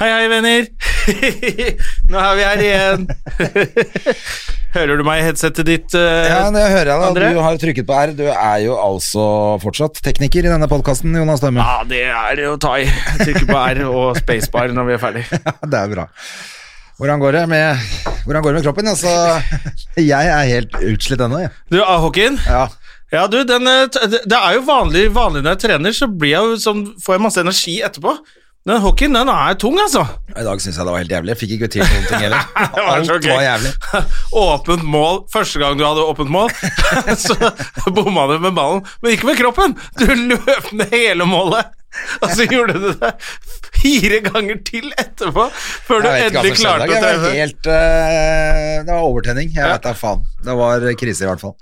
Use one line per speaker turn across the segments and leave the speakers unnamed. Hei, hei, venner! Nå er vi her igjen. Hører du meg i headsetet ditt? eh?
Ja, det hører jeg da.
André?
Du har trykket på R. Du er jo altså fortsatt tekniker i denne podkasten, Jonas Dømme.
Ja, det er det å ta i. Trykke på R og spacebar når vi er ferdig.
Det er bra. Hvordan går det med, hvordan går det med kroppen? Altså, jeg er helt utslitt ennå, jeg.
Du, ah, Håkin.
Ja.
Ja, du, den, eh, t- det det er jo vanlig, vanlig når jeg trener, så blir jeg jo sånn, får jeg masse energi etterpå. Den hockeyen, den er tung, altså.
I dag syns jeg det var helt jævlig. Jeg fikk ikke til noen ting heller.
Det var så
Alt
gøy.
var jævlig.
Åpent mål. Første gang du hadde åpent mål, så bomma du med ballen, men ikke med kroppen. Du løp ned hele målet, og så gjorde du det fire ganger til etterpå, før du
Jeg vet ikke hva som
endelig
skjedde.
klarte å
Jeg var
treffe.
helt eh, Det var overtenning. Jeg vet da faen. Det var krise, i hvert fall.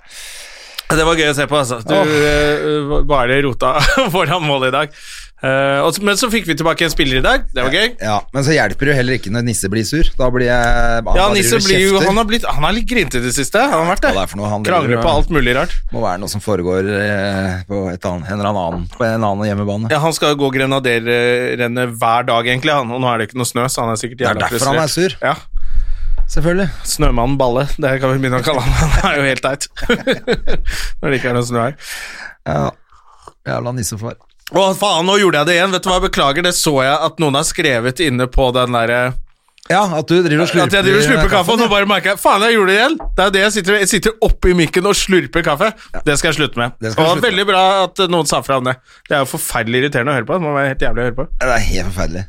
Det var gøy å se på, altså. Du eh, bare rota foran målet i dag. Eh, og, så- men så fikk vi tilbake en spiller i dag. Det var gøy.
Ja, Men så hjelper det jo heller ikke når Nisse blir sur. Da blir jeg
Ja,
bare driver og
Nisse blir jo
kjefter.
Han har blitt Han er litt grinte i det siste. Han har vært
Hva det er for noe, han driver
Krangler
og-
på alt mulig rart.
Må være noe som foregår eh, på, et annet, en eller annen, på en annen hjemmebane.
Ja, Han skal jo gå grenaderrennet hver dag, egentlig. Han. Og nå er det ikke noe snø, så han er sikkert
Det er
jævla
derfor han er sur.
Ja.
Selvfølgelig.
Snømannen Balle, det kan vi begynne å kalle han. Han er jo helt teit. Når det ikke er noe snø her.
Ja. Jævla nissefar.
Å, faen, nå gjorde jeg det igjen. Vet du hva, jeg beklager, det så jeg at noen har skrevet inne på den derre
Ja, at du driver og slurper
At jeg driver og slurper kaffe, altså. og nå
ja.
bare merker jeg Faen, jeg gjorde det igjen! Det er jo det jeg sitter med. Jeg sitter oppi mikken og slurper kaffe. Det skal jeg slutte med.
Det skal
Det
du
var
slutte med.
veldig bra at eh, noen sa fra om det. Det er jo forferdelig irriterende å høre på. Det må være helt jævlig å høre på.
Det er helt forferdelig.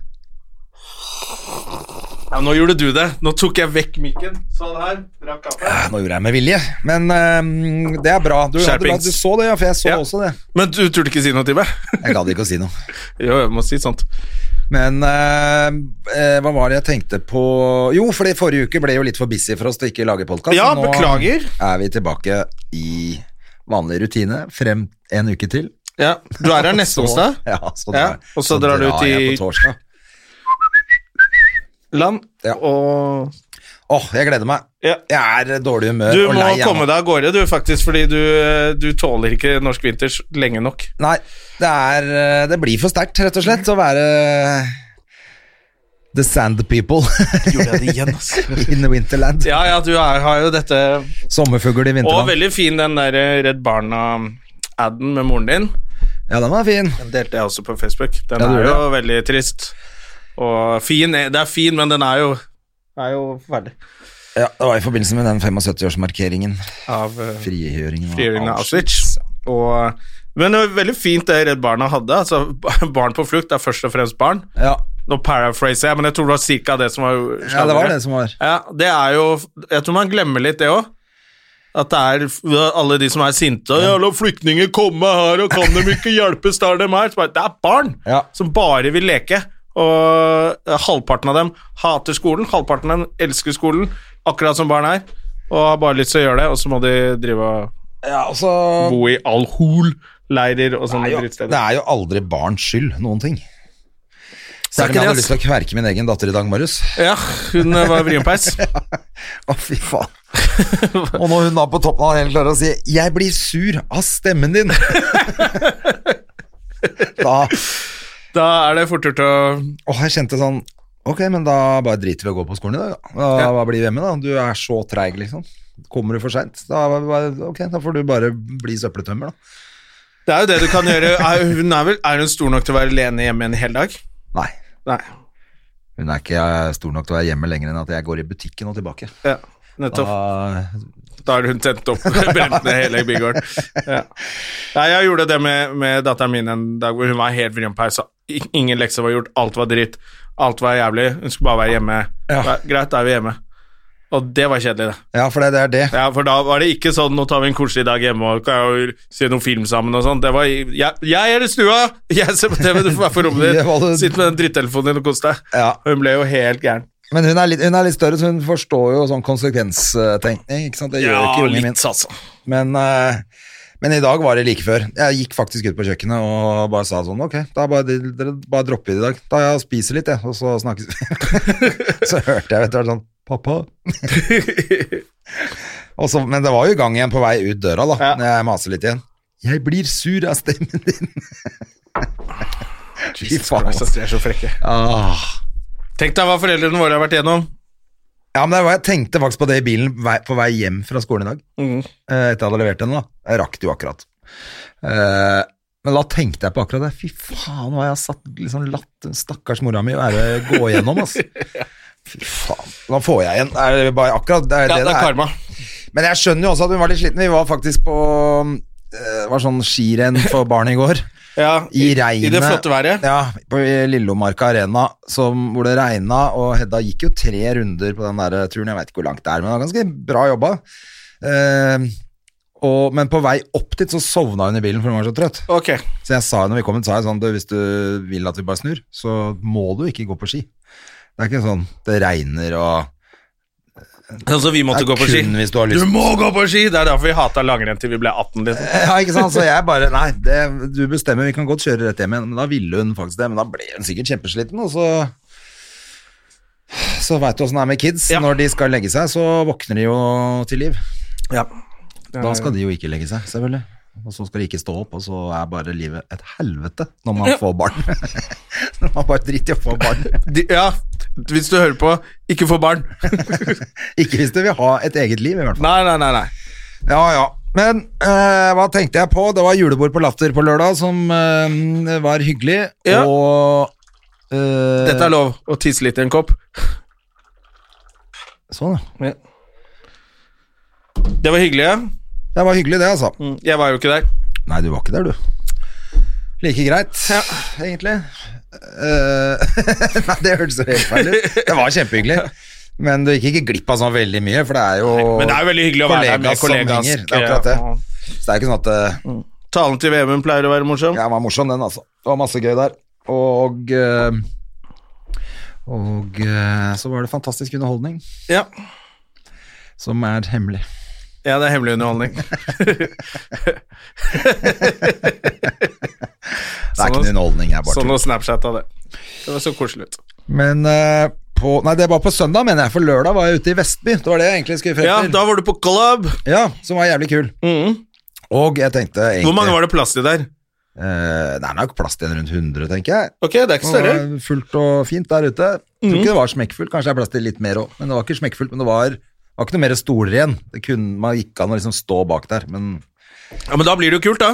Ja, nå gjorde du det. Nå tok jeg vekk mikken. Sånn her. Drakk kaffe.
Ja, Nå gjorde jeg med vilje, men ehm, det er bra. Du, hadde bra.
Skjerpings.
du så det, ja, for jeg så
Ja.
også det.
Men du turte ikke si noe til meg?
Jeg gadd ikke å si noe.
jo, jeg må si sånt.
Men ehm, eh, hva var det jeg tenkte på Jo, fordi forrige uke ble jo litt for busy for oss til ikke å lage podkast.
Ja, beklager.
er vi tilbake i vanlig rutine frem en uke til.
Ja, Du er her neste
Så-
onsdag.
Ja, så
Ja,
drar,
og så drar du ut i-
jeg på torsdag.
Land
Ja.
og
Åh, jeg gleder meg.
Ja.
Jeg er dårlig humør
Du
og
må
lei av
komme
meg.
deg Eh, av gårde, du, faktisk, fordi du, eh, du tåler ikke norsk vinters lenge nok.
Nei, det, er, eh, det blir for sterkt, rett og slett, å være eh, The Sand People
Gjorde jeg det igjen, altså? ass.
in the Winterland.
Ja, ja, du er, har jo dette
Sommerfugl i
Og
vinterland.
veldig fin den der eh, Redd Barna-aden med moren din.
Ja, den var fin.
Den delte jeg også på Facebook. Den
Ja, du
er
gjorde
jo veldig trist. Og fin er- Det er fin, men den er jo Er jo ferdig.
Ja, det var i forbindelse med den 75-årsmarkeringen.
Av eh,
Frigjøringen. av
frigjøringen av
Auschwitz.
Auschwitz. Og, men det var veldig fint det Redd Barna hadde. Altså, b- barn på flukt er først og fremst barn.
Ja.
Nå paraphraser jeg, men jeg tror det var cirka det som var
ja, det var det som var.
Ja, det er jo Jeg tror man glemmer litt det òg. At det er f- alle de som er sinte og 'Jævla flyktninger, komme her, og kan dem ikke hjelpes der dem er?' Så bare, Det er barn
Ja.
som bare vil leke. Og eh, halvparten av dem hater skolen, halvparten av dem elsker skolen, akkurat som barn er, og har bare lyst til å gjøre det, og så må de drive og
Ja, og så
bo i alhol-leirer og sånne
Det
drittsteder.
er jo aldri barns skyld, noen ting.
er
Selv
ikke
om jeg hadde
det,
lyst til å kverke min egen datter i dag morges.
Ja, hun eh, var vrien peis.
Å, fy faen. Og når hun da på toppen av hele klarer å si 'Jeg blir sur av stemmen din', da
Da er det fort gjort å
Å, jeg kjente sånn Ok, men da bare driter vi å gå på skolen i dag, da. Da
Ja.
bare blir vi hjemme, da. Du er så treig, liksom. Kommer du for seint, da, er det bare- ok, da får du bare bli søppeltømmer, da.
Det er jo det du kan gjøre. Er hun, er vel, er hun stor nok til å være alene hjemme en hel dag?
Nei.
Nei.
Hun er ikke eh, stor nok til å være hjemme lenger enn at jeg går i butikken og tilbake.
Ja, nettopp.
Da,
Da har hun tent opp brent ned hele bygården. Ja. Nei, jeg gjorde det med, med datteren min en dag hvor hun var helt vrien på pausa. Ingen lekser var gjort, alt var dritt, alt var jævlig. Hun skulle bare være hjemme.
Ja.
Da- Greit, da er vi hjemme. Og det var kjedelig, det.
Ja, for det, det er det.
Ja, for da var det ikke sånn 'nå tar vi en koselig dag hjemme og kan jo se noen film sammen' og sånn. Det var jeg, 'jeg er i stua, jeg ser på TV, du får være på rommet
Det var
ditt',
det-
sitt med den drittelefonen din og kos deg.
Ja.
Hun ble jo helt gæren.
Men hun er, litt, hun er litt større, så hun forstår jo sånn konsekvenstenkning. ikke sant? Det gjør ikke ungen min.
altså.
Men, eh, men i dag var det like før. Jeg gikk faktisk ut på kjøkkenet og bare sa sånn Ok, da bare, dere bare dropper det i dag. Da jeg spiser litt, jeg, og så snakkes vi. så hørte jeg etter hvert sånn Pappa. og så, men det var jo i gang igjen på vei ut døra, da,
Ja.
når jeg maser litt igjen. Jeg blir sur av stemmen din. Fy faen. altså.
Christ, de er så frekke.
Ah.
Tenk deg hva foreldrene våre har vært igjennom.
Ja, men det var, Jeg tenkte faktisk på det i bilen vei- på vei hjem fra skolen i dag.
Mhm.
eh, etter jeg hadde levert henne. da. Jeg rakk det jo akkurat. Eh, men da tenkte jeg på akkurat det. Fy faen, hva jeg har satt, liksom, latt den stakkars mora mi være gå igjennom. ass. Fy faen. Hva får jeg igjen? Er det bare akkurat det, er
Ja,
det, det er?
karma.
Men jeg skjønner jo også at hun var litt sliten. Vi var faktisk på eh, var sånn skirenn for barn i går.
Ja,
I regnet.
I det flotte været.
Ja, på Lillomarka Arena, som, hvor det regna, og Hedda gikk jo tre runder på den der turen. Jeg veit ikke hvor langt det er, men det var ganske bra jobba. Eh, og, men på vei opp dit så sovna hun i bilen, for hun var så trøtt.
Ok.
Så jeg sa når vi kom ut, sa jeg sånn du, Hvis du vil at vi bare snur, så må du ikke gå på ski. Det er ikke sånn det regner og
Altså, vi måtte
Det er
gå på ski.
kun hvis du har lyst.
må gå på ski! Det er derfor vi hata langrenn til vi ble 18, liksom.
Ja, ikke sant? Så jeg bare Nei, det, du bestemmer, vi kan godt kjøre rett hjem igjen. Men da ville hun faktisk det. Men da ble hun sikkert kjempesliten, og så Så veit du åssen det er med kids.
Ja.
Når de skal legge seg, så våkner de jo til liv.
Ja.
Da skal de jo ikke legge seg, selvfølgelig. Og så skal de ikke stå opp, og så er bare livet et helvete når man får barn. når man bare driter i å få barn.
De, ja, hvis du hører på, ikke få barn.
Ikke hvis du vil ha et eget liv, i hvert fall.
Nei, nei, nei. nei.
Ja, ja. Men eh, hva tenkte jeg på? Det var julebord på Latter på lørdag, som eh, var hyggelig.
Ja.
Og eh,
Dette er lov å tisse litt i en kopp.
Sånn, ja.
Det var hyggelig. ja.
Det var hyggelig, det, altså.
Jeg var jo ikke der.
Nei, du var ikke der, du. Like greit, egentlig. Eh, Nei, det hørtes så helt feil ut. Det var kjempehyggelig. Men du gikk ikke glipp av sånn veldig mye, for det er jo
Men det er jo veldig hyggelig å være der med
kollegas sammenhenger.
kollegask
Det er akkurat det. Så det er ikke sånn at eh,
Talen til VM-en pleier å være morsom.
Ja, den var morsom den, altså. Det var masse gøy der. Og eh, Og eh, så var det fantastisk underholdning,
Ja.
som er hemmelig.
ja, det er hemmelig underholdning.
Det er ikke noe underholdning, jeg bare
Sånn
tuller.
å Snapchat av det. Det var så koselig ut.
Men eh, på Nei, det var på søndag, mener jeg, for lørdag var jeg ute i Vestby. Det var det jeg egentlig skulle frem
Ja,
til.
da var du på club.
Ja, som var jævlig kul. Og jeg tenkte egentlig
Hvor mange var det plass til der?
Eh, det er nok plass til en rundt 100, tenker jeg.
Ok, det er ikke større. Mhm.
Det var fullt og fint der ute. Tror ikke det var smekkfullt, kanskje det er plass til litt mer òg. Men det var ikke smekkfullt, men det var, det var ikke noe mer stoler igjen. Det kunne, man gikk an å liksom stå bak der, men
Ja, Men da blir det jo kult, da.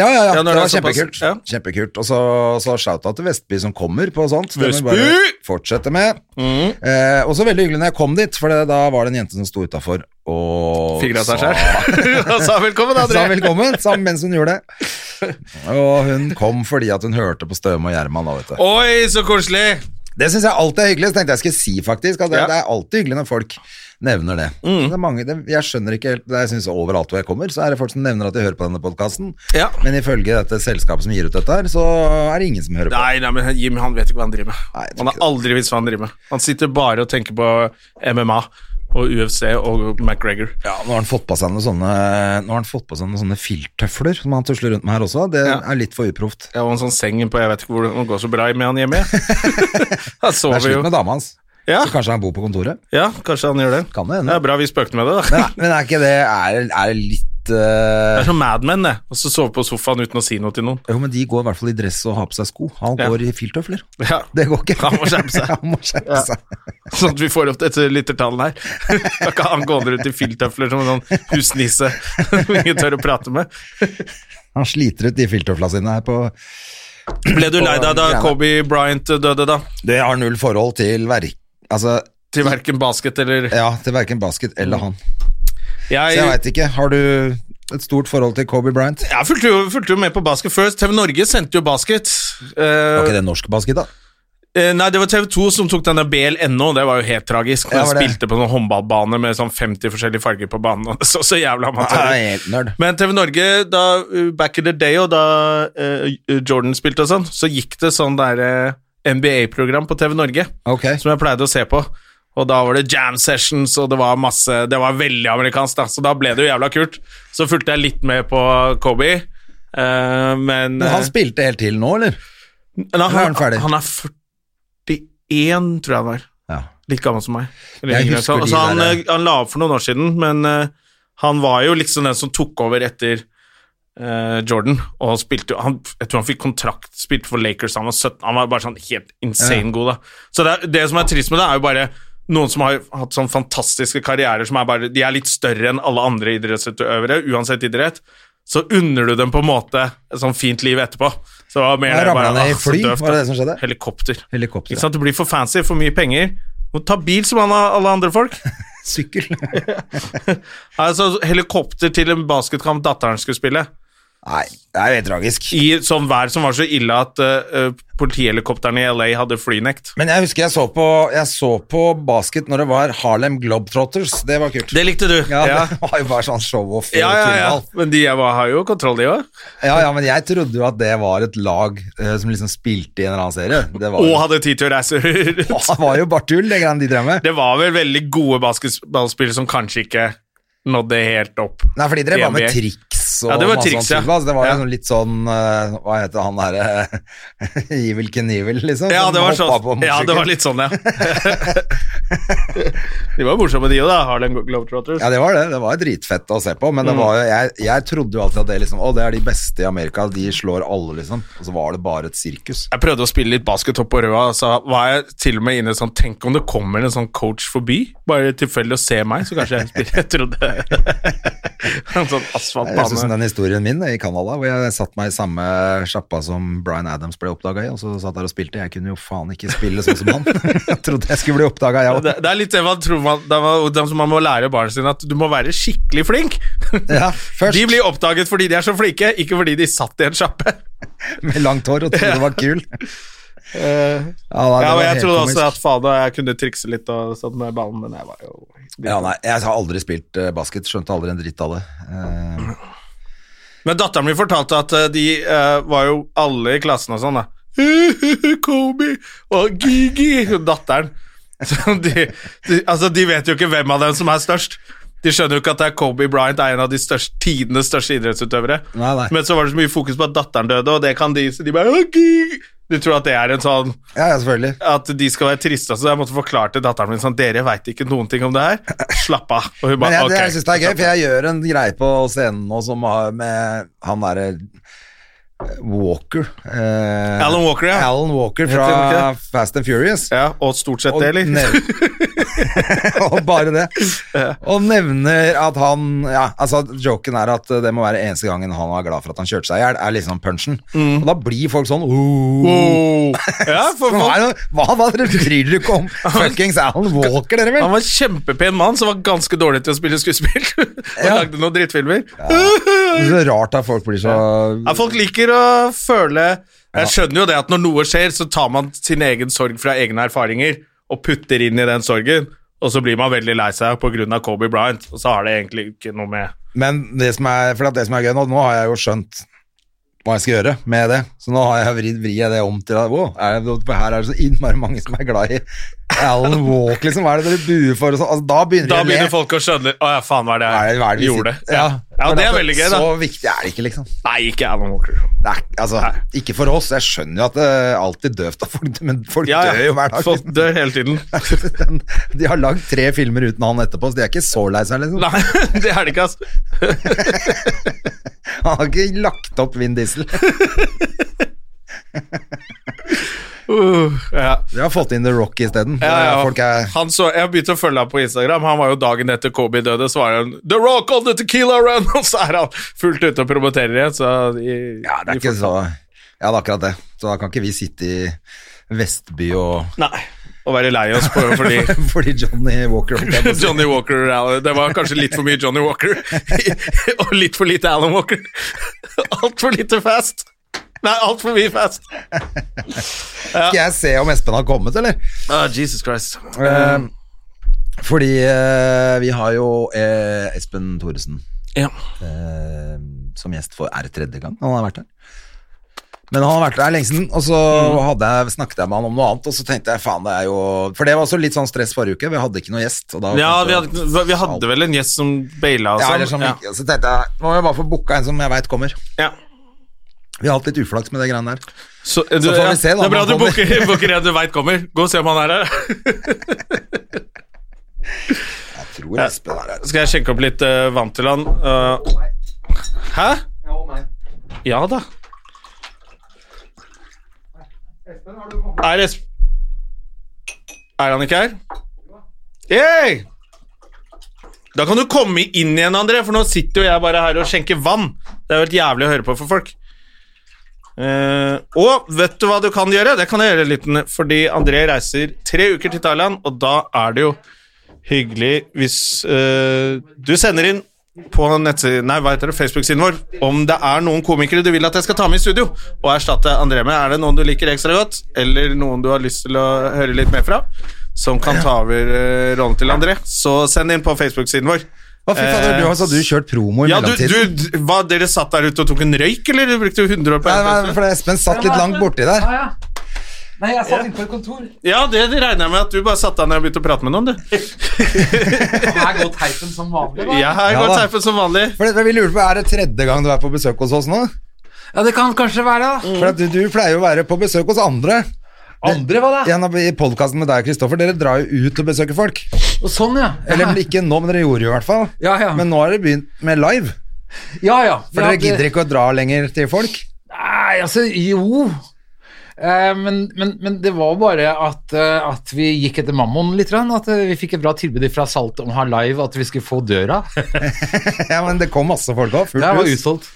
ja, ja, ja,
Ja,
det
når det
var
er såpass-
kjempekult.
ja.
kjempekult. Og så, så shout-out til Vestby som kommer på sånt. Det må vi
Vestby! Mhm.
bare fortsette med. Eh, og så veldig hyggelig når jeg kom dit, for det, da var det en jente som sto utafor og
Fikk det av seg
sa-
sjøl. Og sa velkommen,
Sa
André.
velkommen sammen mens hun gjorde det. Og hun kom fordi at hun hørte på Støme og Gjerman, da, vet du.
Oi, så koselig!
Det syns jeg alltid er hyggelig. Så tenkte jeg skulle si faktisk at det,
Ja. Mm.
det er alltid hyggelig når folk nevner det. det, er mange, det jeg skjønner ikke helt det er- Jeg synes overalt hvor jeg kommer, så er det folk som nevner at de hører på denne podkasten.
Ja.
Men ifølge dette selskapet som gir ut dette her, så er det ingen som hører på.
Nei, nei, men Jim han vet ikke hva han driver med.
Nei, jeg tror
han har
ikke
aldri visst hva han driver med. Han sitter bare og tenker på MMA og UFC og McGregor.
Ja, nå har han fått på seg noen sånne Nå har han fått på seg noen sånne filttøfler som han tusler rundt med her også. Det
Ja.
er litt for uproft.
Jeg har en sånn seng på Jeg vet ikke hvordan det går så bra med han hjemme. Han
Det er
sover jo.
slutt med dama hans.
Ja.
Så kanskje han bor på kontoret.
ja, kanskje han gjør det.
Kan det hende.
Det er bra vi spøkte med det, da.
Men, men er ikke det Er, er det litt
Det
eh,
er som Mad Men, det. Og så sove på sofaen uten å si noe til noen.
Jo, men de går i hvert fall i dress og har på seg sko. Han
Ja.
går i filttøfler.
Ja,
Det går ikke.
Han må skjerpe seg.
Han må skjerpe
Ja.
seg.
Sånn at vi får opp dette lyttertallet her. Da kan han gå rundt i filttøfler som en sånn husnisse som ingen tør å prate med.
Han sliter ut de filttøflene sine her på
Ble du lei deg da
Greiene.
Kobe Bryant døde, da?
Du, jeg har null forhold til verk... Altså,
Til verken basket eller
ja, til verken basket eller han. Så jeg
Eh, Jeg,
veit ikke. Har du et stort forhold til Kobe Bryant?
jeg fulgte, jo, fulgte jo med på basket først. TV Norge sendte jo basket. Eh,
Var ikke det norsk basket, da?
Eh, nei, det var TV 2 som tok den der BLNO, det var jo helt tragisk.
Ja,
Ja,
var det?
spilte på sånn håndballbane med sånn 50 forskjellige farger på banen, og det så så jævla
Jeg
amatører.
er helt nerd.
Men TV Norge, da, uh, back in the day, og da eh, Jordan spilte og sånn, så gikk det sånn der eh, NBA-program på TV Norge,
Ok.
som jeg pleide å se på. Og da var det jam sessions, og det var masse Det var veldig amerikansk, da, så da ble det jo jævla kult. Så fulgte jeg litt med på Kobe, eh, men
Men han
eh,
spilte helt til nå, eller?
Nei,
Nå er han ferdig.
han er 41, tror jeg han var.
Ja.
Like gammel som meg. Eller
Jeg
yngre.
husker
Så-
de
så han,
der-
eh, han la opp for noen år siden, men eh, han var jo liksom den som tok over etter eh, Jordan, og spilte jo han, Jeg tror han fikk kontrakt, spilte for Lakers, han var 17 Han var bare sånn helt insane god, da. Så det, er- det som er trist med det, er jo bare noen som har hatt sånn fantastiske karrierer som er bare De er litt større enn alle andre idrettsutøvere, uansett idrett. Så unner du dem på en måte et sånn fint liv etterpå. Så det var mer
Jeg
det
ramla
bare,
ned i
ah, så
fly,
døvt,
var det
da.
det som skjedde?
Helikopter.
Helikopter,
Ikke sant? Det blir for fancy, for mye penger. Må ta bil som han har alle andre folk.
Sykkel.
altså, helikopter til en basketkamp datteren skulle spille.
Nei, det er jo helt tragisk.
I sånn vær som var så ille at eh, eh, politihelikopterne i LA hadde flynekt.
Men jeg husker jeg så på, jeg så på basket når det var Harlem Globetrotters. Det var kult.
Det likte du.
ja,
ja.
det var jo bare sånn show-off.
Ja, ja, ja.
tullball.
Men de var, har jo kontroll, de òg.
ja, ja, men jeg trodde jo at det var et lag eh, som liksom spilte i en eller annen serie. Det var,
Og
jo-
hadde tid til å reise rundt.
det var jo bare tull, det greiene de drev med.
Det var vel veldig gode basketballspillere som kanskje ikke nådde helt opp.
Nei, fordi dere var med
NBA.
triks og
Ja, det var
masse
triks,
sånn
ja.
tull, altså. Det var jo
Ja.
sånn litt sånn eh, Hva heter han derre Evil Knievel, liksom?
Ja,
som
det var,
hoppa på
sånn. ja, det
motorsykkel.
var litt sånn, ja. de var morsomme, de òg, da. Harlem Globetrotters.
Ja, det var det. Det var dritfett å se på,
Mm.
men det var jo, jeg, jeg trodde jo alltid at det liksom Å, det er de beste i Amerika, de slår alle, liksom. Og så var det bare et sirkus.
Jeg prøvde å spille litt basket opp på Røa, og så var jeg til og med inne sånn Tenk om det kommer en sånn coach forbi, bare tilfeldig å se meg, så kanskje jeg spiller. Jeg trodde En sånn
Det høres ut som
asfaltbane.
den historien min eh, i Canada, hvor jeg satt meg i samme sjappa som Bryan Adams ble oppdaga i, og så satt der og spilte. Jeg kunne jo faen ikke spille sånn som han. Jeg trodde jeg skulle bli oppdaga, jeg òg.
Det, det er litt det man tror man, det er det som man må lære barna sine, at du må være skikkelig flink.
Ja, først.
De blir oppdaget fordi de er så flinke, ikke fordi de satt i en sjappe.
Med langt hår og trodde det var kul. Ja, nei, det
Ja, og
var
jeg
helt
trodde
komisk.
også at fader, jeg kunne trikse litt og sånn med ballen, men jeg var jo
Ja, nei, jeg har aldri spilt eh, basket, skjønte aldri en dritt av det. Eh,
Men datteren min fortalte at eh, de eh, var jo alle i klassen og sånn, da. Kobe og Gigi, datteren. Så de, de, altså, de vet jo ikke hvem av dem som er størst. De skjønner jo ikke at det er Kobe Bryant er en av de største, tidenes største idrettsutøvere.
Nei, nei.
Men så var det så mye fokus på at datteren døde, og det kan de, så de bare «Å, Gigi. De tror at det er en sånn
ja, ja, selvfølgelig.
At de skal være triste. Så jeg måtte forklare til datteren min sånn Dere veit ikke noen ting om det her. Slapp av. Og hun
Men
bare
jeg, jeg
ok.
syns det er gøy, for jeg gjør en greie på scenen nå som har med han derre eh, Walker. eh,
Alan Walker, ja.
Alan Walker
Heter han
fra
ikke
Fast and Furious.
Ja, og stort sett
Og
det, eller?
nev- og bare det. Og nevner at han ja, altså Joken er at det må være eneste gangen han var glad for at han kjørte seg i hjel, er liksom punchen. Og da blir folk sånn «Åh». Oh.
Wow. Mm. Ja, for,
Hva,
for,
er det- hva, hva dere bryr dere ikke om? Fuckings Alan Walker, dere vel?
Han var en kjempepen mann som var ganske dårlig til å spille skuespill. og
Ja.
lagde noen drittfilmer.
Det er så rart at folk blir så
Ja, folk liker å føle Jeg skjønner jo det at når noe skjer, så tar man sin egen sorg fra egne erfaringer og putter inn i den sorgen, og så blir man veldig lei seg pga. Kobe Bryant, og så har det egentlig ikke noe med
Men det som er, for at det som er gøy nå, nå har jeg jo skjønt hva jeg skal gjøre med det. Så nå har jeg vridd vri jeg det om til at wow, er det, for her er det så innmari mange som er glad i Alan Walk, liksom. Hva er det dere buer for? Og så, altså, da begynner
Da
de å le.
begynner folk å skjønne Å ja, faen, hva er det
Hva er det- hva er
jeg
det vi
gjorde?
sitter- Ja,
ja
Men
det er
at
veldig gøy, da.
Så viktig er det ikke, liksom.
Nei, ikke Alan Walker.
Det er, altså, ikke for oss. Jeg skjønner jo at det er alltid døvt av folk, men folk
Ja,
dør jo
ja.
hver dag.
Folk
liksom.
dør hele tiden.
Den- de har lagd tre filmer uten han etterpå, så de er ikke så lei seg, liksom.
Nei, det er det ikke, altså.
Han har ikke lagt opp Vin Diesel.
Uh, ja.
De har fått inn The Rock isteden.
Ja, ja.
Eh, Folk er
Han så, jeg begynte å følge ham på Instagram. Han var jo dagen etter Kobe døde, så var han The Rock on the Tequila Run! Og så er han fullt ute og promoterer igjen. Så de,
Ja, det er ikke så Ja, det er akkurat det. Så da kan ikke vi sitte i Vestby og
Nei. Å være lei oss på fordi
Fordi Johnny Walker holdt jeg på å si.
Johnny Walker Alan- Det var kanskje litt for mye Johnny Walker og litt for lite Alan Walker. Altfor lite fast. Nei, altfor mye fast.
Skal jeg se om Espen har kommet, eller?
Ah, Jesus Christ.
Eh, fordi eh, vi har jo eh, Espen Thoresen
Ja.
eh, som gjest for er det tredje gang han har vært her. Men han har vært der lenge siden, og så
Mm.
hadde jeg, snakket jeg med han om noe annet, og så tenkte jeg faen, det er jo For det var også litt sånn stress forrige uke, vi hadde ikke noe gjest. Og da
ja vi, hadde, vi hadde vel en gjest som baila og
ja,
sånn.
eller som,
ja.
ikke- Så tenkte jeg, nå må jeg bare få booka en som jeg veit kommer.
Ja.
Vi har hatt litt uflaks med det greiene der.
Så, eh, du,
får vi
ja,
se da om
Det er bra
han
du
kommer.
booker booker en du veit kommer. Gå og se om han er her.
Jeg tror Espen er her.
Skal jeg sjekke opp litt eh, vann til han? eh. hæ? Ja da. Er Esp... Er han ikke her? Yay! Da kan du komme inn igjen, André, for nå sitter jo jeg bare her og skjenker vann. Det er jo helt jævlig å høre på for folk. Eh, og vet du hva du kan gjøre? Det kan jeg gjøre litt, fordi André reiser tre uker til Thailand, og da er det jo Hyggelig hvis eh, du sender inn på nettsiden, nei, hva heter det, Facebook-siden vår om det er noen komikere du vil at jeg skal ta med i studio og erstatte André med. Er det noen du liker ekstra godt, eller noen du har lyst til å høre litt mer fra, som kan ta over eh, rollen til André, så send inn på Facebook-siden vår.
Å, fy fader, du har altså, du kjørt promo i
Eh, Ja, du,
mellomtiden.
du, d- hva, Dere satt der ute og tok en røyk, eller? Du brukte 100 år på
Nei,
en
nei, for Espen satt litt langt borti der.
Ah, ja. Nei, jeg satt inne på et kontor.
Ja, det regner jeg med at du bare satte deg ned og begynte å prate med noen, du.
Her går teipen som vanlig.
Jeg har
Ja
gått
da.
teipen som vanlig.
For det, vi lurer på, Er det tredje gang du er på besøk hos oss nå?
Ja, det kan kanskje være da.
For at du, du pleier jo å være på besøk hos andre.
Andre var det.
Igjen I podkasten med deg og Kristoffer, dere drar jo ut og besøker folk.
Og sånn, ja.
Eller vel ikke nå, men dere gjorde jo i hvert fall.
Ja, ja.
Men nå har dere begynt med live.
ja, ja.
For dere gidder ikke å dra lenger til folk.
Nei, altså, jo. Eh, men, men, men det var bare at, eh, at vi gikk etter mammon litt. grann, At eh, vi fikk et bra tilbud fra Salt om å ha live, at vi skulle få døra.
Ja, men det kom masse folk òg.
Det
Fullt
var
hus.
utsolgt.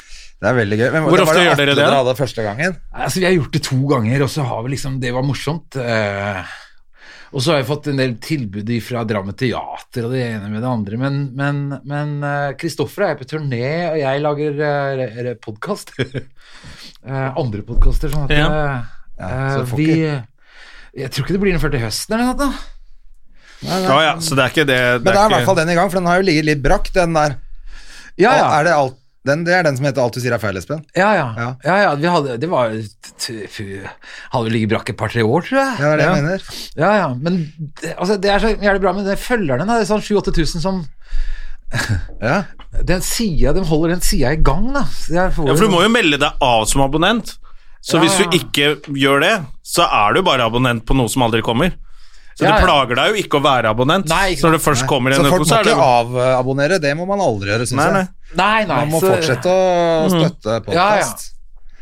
Det er veldig gøy. Men,
Hvor
det var
ofte
jo
gjør dere
Atle
det, da?
hadde første gangen.
Nei, Altså, vi har gjort det to ganger, og så har vi liksom Det var morsomt. eh, og så har jeg fått en del tilbud fra Drammen Teater og det ene med det andre, men, men, men eh, Kristoffer er på turné, og jeg lager uh, podkast. Eh, andre podkaster, sånn at
Ja.
eh,
Ja, så
eh,
får
vi Jeg tror ikke det blir noe før til høsten eller noe. sånt,
Å ja, så det er ikke det.
Men det er i
ikke-
hvert fall den i gang, for den har jo ligget litt brakk, den der.
da. Ja, ja.
Er det, alt, den, det er den som heter 'Alt du sier er feil', Espen.
ja, ja. ja.
Ja.
ja, Vi hadde, det var t- fy, Hadde vi ligget brakk et par-tre år, tror jeg.
Ja, det er det jeg mener.
Ja, ja, men det, altså, det er så jævlig bra, men det følgerne, da, det er sånn 7000-8000 som
Ja.
Den sida, de holder den sida i gang, da. Ja,
Ja, for du må jo melde deg av som abonnent. Så
Ja,
hvis
ja.
du ikke gjør det, så er du bare abonnent på noe som aldri kommer. Så
Ja,
det
ja.
plager deg jo ikke å være abonnent.
Nei, ikke
når det først kommer
Så
en
folk
økonomi,
må
så er det
ikke avabonnere. Det må man aldri gjøre, syns
Nei,
jeg.
nei.
Nei, nei.
Man må
så- Mhm.
fortsette å støtte podkast.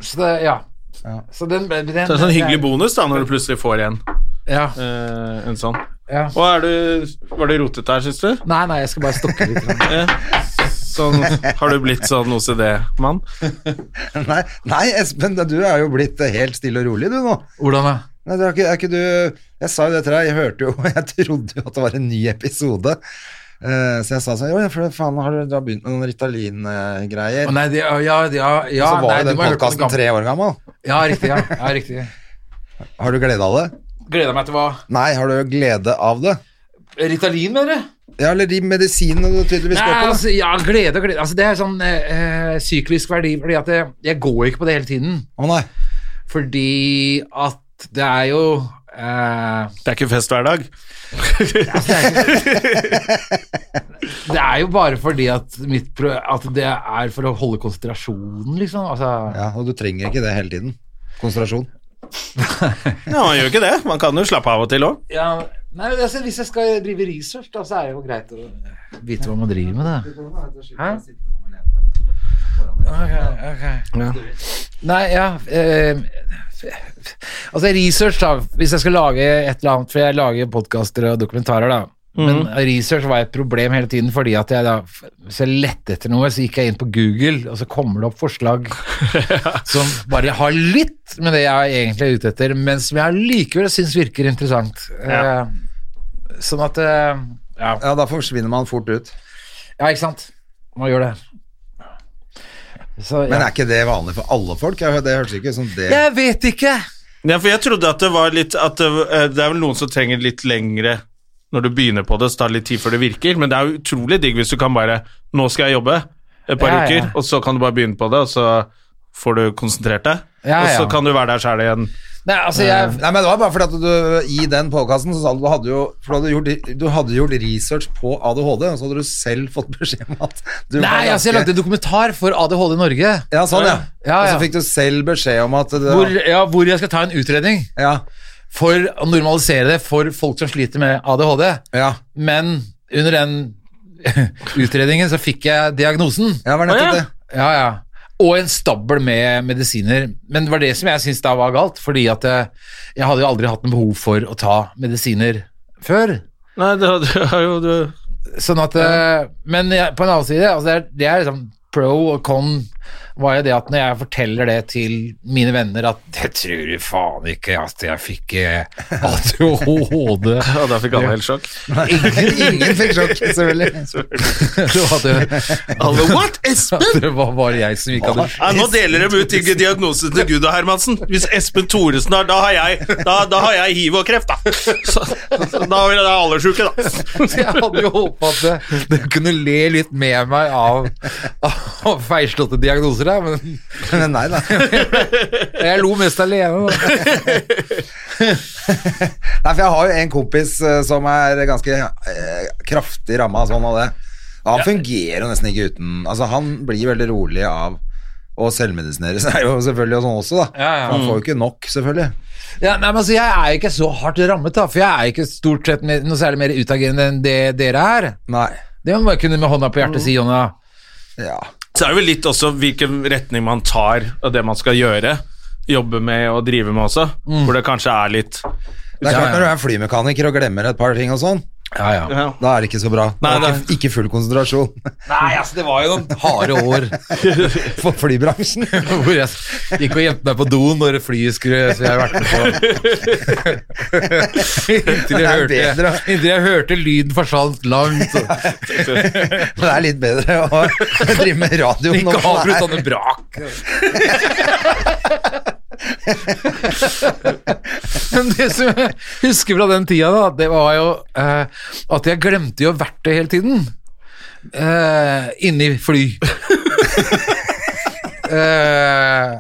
Så det, ja.
Ja.
Så den,
Så
den
det er en sånn hyggelig bonus da, når du plutselig får en,
Ja,
eh, en sånn.
ja.
Og er du, var det rotet der, syns du?
Nei, nei, jeg skal bare stokke litt. grann.
Ja. Sånn, har du blitt sånn OCD-mann?
Nei, nei, Espen, du er jo blitt helt stille og rolig, du nå.
Hvordan da?
Nei, det er ikke, er ikke du Jeg sa jo det til deg, jeg hørte jo Jeg trodde jo at det var en ny episode. Eh, så jeg sa sånn Jo, ja, for faen, har du, du har begynt med noen Ritalin-greier?
Å, Nei, det, ja, ja, ja, ja
så var
nei,
jo den
du må ha hørt om det
podkasten
gamle.
tre år gammel.
Ja, riktig. ja, ja riktig.
Har du glede av det?
Gleder meg til hva
Nei, har du glede av det?
Ritalin, mener du?
Ja, eller de medisinene du tydeligvis
Nei,
går på? da.
altså, ja, glede og glede. Altså, det er sånn eh, eh, syklisk verdi, fordi at jeg, jeg går ikke på det hele tiden.
Å nei.
Fordi at det er jo eh,
Det er ikke fest hver dag.
Det er jo bare fordi at, mitt pro at det er for å holde konsentrasjonen, liksom. Altså,
Ja, og du trenger ikke det hele tiden. Konsentrasjon.
Ja, man gjør ikke det. Man kan jo slappe av og til òg.
ja, nei, altså, hvis jeg skal drive research, da, så er det jo greit å vite hva man driver med, da. Hæ? Ok, ok. Nei, ja eh, Altså, research, da. Hvis jeg skal lage et eller annet For jeg lager podkaster og dokumentarer, da. Men research var et problem hele tiden, fordi at jeg da Hvis jeg lette etter noe, så gikk jeg inn på Google, og så kommer det opp forslag som bare har litt med det jeg egentlig er ute etter, men som jeg allikevel syns virker interessant. Eh, sånn at eh, ja.
Ja, da forsvinner man fort ut.
ja, ikke sant. Man gjør det. Så,
Men
ja.
er ikke det vanlig for alle folk? Jeg- Det hørtes ikke ut som det.
Jeg vet ikke!
Ja, for jeg trodde at det var litt at det, eh, det er vel noen som trenger litt lengre når du begynner på det, så tar det litt tid før det virker, men det er jo utrolig digg hvis du kan bare Nå skal jeg jobbe et par
Ja, ja.
uker, og så kan du bare begynne på det, og så får du konsentrert deg,
Ja,
og så
ja.
kan du være der sjæl igjen.
Nei, altså, jeg
Eh, Nei, men det var bare fordi at du i den podkasten så sa du du hadde jo for du hadde, gjort, du hadde gjort research på ADHD, og så hadde du selv fått beskjed om at du var
Nei, altså, jeg
ganske-
lagde dokumentar for ADHD Norge.
Ja, sånn, ja.
Ja,
Og
ja.
så fikk du selv beskjed om at det,
Hvor, ja, hvor jeg skal ta en utredning
Ja.
for å normalisere det for folk som sliter med ADHD.
Ja,
Men under den utredningen så fikk jeg diagnosen.
ja det var nettopp
Å, ja.
det.
Ja, ja. Og en stabel med medisiner. Men det var det som jeg syntes da var galt, fordi at eh, jeg hadde jo aldri hatt noe behov for å ta medisiner før.
Nei, det, det er jo det.
Sånn at eh, Men jeg, på en annen side, altså det, er, det er liksom pro og con var jo det at når jeg forteller det til mine venner at det tror du faen ikke at jeg fikk eh, ADHD
Ja, da fikk alle helt sjokk.
Ingen,
Ingen fikk sjokk, selvfølgelig.
det var det,
Alle, what? Espen?
at det var bare jeg som ikke hadde
Ja, nå deler de ut ikke diagnosen til Gud og Hermansen. Hvis Espen Thoresen har, da har jeg, da, da har jeg hiv og kreft, da. Så, så da vil jeg være alderssjuke, da.
Så jeg hadde jo håpa at det- dere kunne le litt med meg av, av feilslåtte diagnoser, da, men
Men nei da.
jeg lo mest alene. Da.
Nei, for jeg har jo en kompis eh, som er ganske eh, kraftig ramma sånn av det. Han fungerer jo nesten ikke uten Altså, han blir veldig rolig av å selvmedisinere seg jo selvfølgelig og sånn også, da.
Ja, ja. Mm.
For Han får jo ikke nok, selvfølgelig.
Ja, nei, men altså, jeg er jo ikke så hardt rammet, da, for jeg er jo ikke stort sett mer, noe særlig mer utagerende enn det dere er.
Nei.
Det må man kunne med hånda på
Mm.
hjertet si, Jonna.
Ja.
Så er det vel litt også hvilken retning man tar av det man skal gjøre, jobbe med og drive med også, hvor det kanskje er litt
Det er
Ja,
klart,
ja.
når du er flymekaniker og glemmer et par ting og sånn,
Ja, ja.
ja.
da er det ikke så bra.
Nei,
det var ikke, ikke full konsentrasjon
Nei, altså, det var jo noen harde år
for flybransjen.
hvor jeg gikk og gjemte meg på doen når flyet skulle Så jeg har vært med på
Det
inntil, jeg
er
hørte,
bedre.
inntil jeg hørte lyden forsvant langt. Og,
Men det er litt bedre å drive med radio
Ikke
når man
avbryt
er-
sånne brak. Men det som jeg husker fra den tida, da, det var jo eh, at jeg glemte jo verktøy hele tiden. Eh, inni fly. Eh,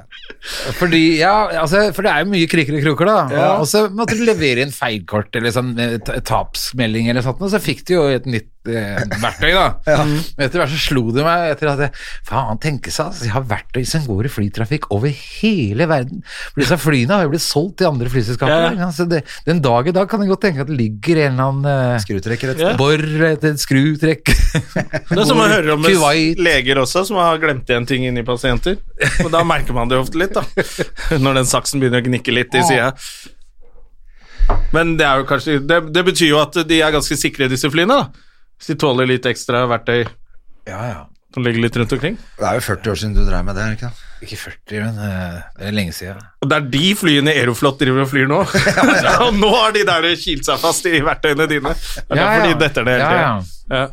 fordi, ja, altså, for det er jo mye krikker og kroker, da. Og- Og så måtte du levere inn feilkort eller sånn eh, ta- tapsmelding eller sånt, og så fikk du jo et nytt eh, verktøy, da. Men Etter hvert så slo det meg etter at jeg, Faen, tenke seg, altså, jeg har verktøy som går i flytrafikk over hele verden. For disse flyene har jo blitt solgt til andre flyselskaper. ikke sant? Så det, den dag i dag kan jeg godt tenke at det ligger en eller annen eh,
Skrutrekker, rett og slett.
Ja.
bor etter et skrutrekk.
Det er som man hører om
Kuwait.
med leger også, som har glemt igjen ting inni pasienter. Og da merker man det ofte litt, da. Når den saksen begynner å gnikke litt i sida. Men det er jo kanskje det, det betyr jo at de er ganske sikre, disse flyene. da. Så de tåler litt ekstra verktøy
Ja, ja.
som ligger litt rundt omkring.
Det er jo 40 år siden du drev med det, er det ikke det?
Ikke 40, men eh, det er lenge siden.
Og det er de flyene Aeroflot driver og flyr nå. Og nå har de der kilt seg fast i verktøyene dine. Det er
Ja,
derfor
ja.
de detter det hele
Ja, ja.
tiden. Ja.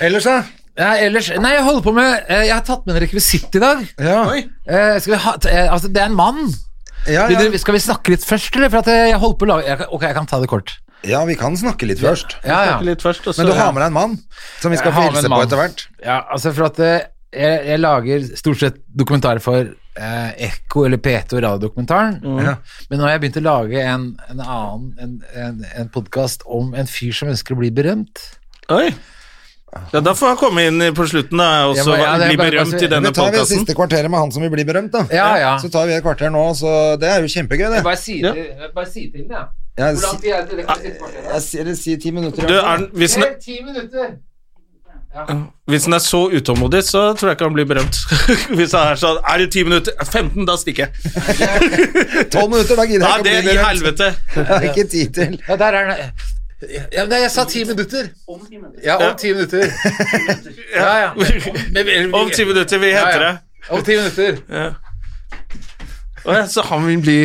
Ellers, da?
Ja, ellers, nei, jeg holder på med eh, Jeg har tatt med en rekvisitt i dag.
Ja.
Eh, skal vi ha, t- eh, altså, det er en mann.
Ja,
Vil
ja.
dere- Skal vi snakke litt først, eller? For at eh, jeg holder på å lage jeg, kan- Ok, jeg kan ta det kort.
ja, vi kan snakke litt først.
Ja, ja.
Litt først, og så,
Men du har med deg en mann som vi skal
Jeg
få
har med
hilse
en
på
mann.
etter hvert.
ja altså, for at eh, jeg, jeg lager stort sett dokumentarer for eh, Ekko eller P2 radiodokumentaren.
Mm.
Ja.
Men nå har jeg begynt å lage en, en annen En, en, en podkast om en fyr som ønsker å bli berømt.
Oi. Ja, da får han komme inn på slutten da, og
Ja,
så
men ja, det er
bli
bare-
berømt i
bare-
denne
Men tar altså, vi det
podkasten.
siste kvarteret med han som vil bli berømt, da.
Ja, ja.
Så tar vi et kvarter nå, så det er jo kjempegøy, det.
Bare si,
Ja.
bare si til den, ja.
Jeg,
Hvor lang
si-
tid er det til det siste kvarteret?
jeg sier det sier ti minutter. i
Du,
hvert
er,
fall.
den- hvis, den,
Helt ti minutter.
hvis den er så utålmodig, så tror jeg ikke han blir berømt. hvis han er sånn Er det ti minutter? 15, da stikker jeg.
Tolv minutter, da gidder
Nei,
jeg
det
ikke å
i
bli berømt.
helvete.
Det er ikke tid til.
Ja, der er den. Ja, nei, jeg sa ti minutter. Om ti minutter. Ja, om ti minutter. Ja, ja. Men- men-
Om ti minutter, vi
Ja, ja.
henter det.
Om ti minutter.
Å ja, så han vil bli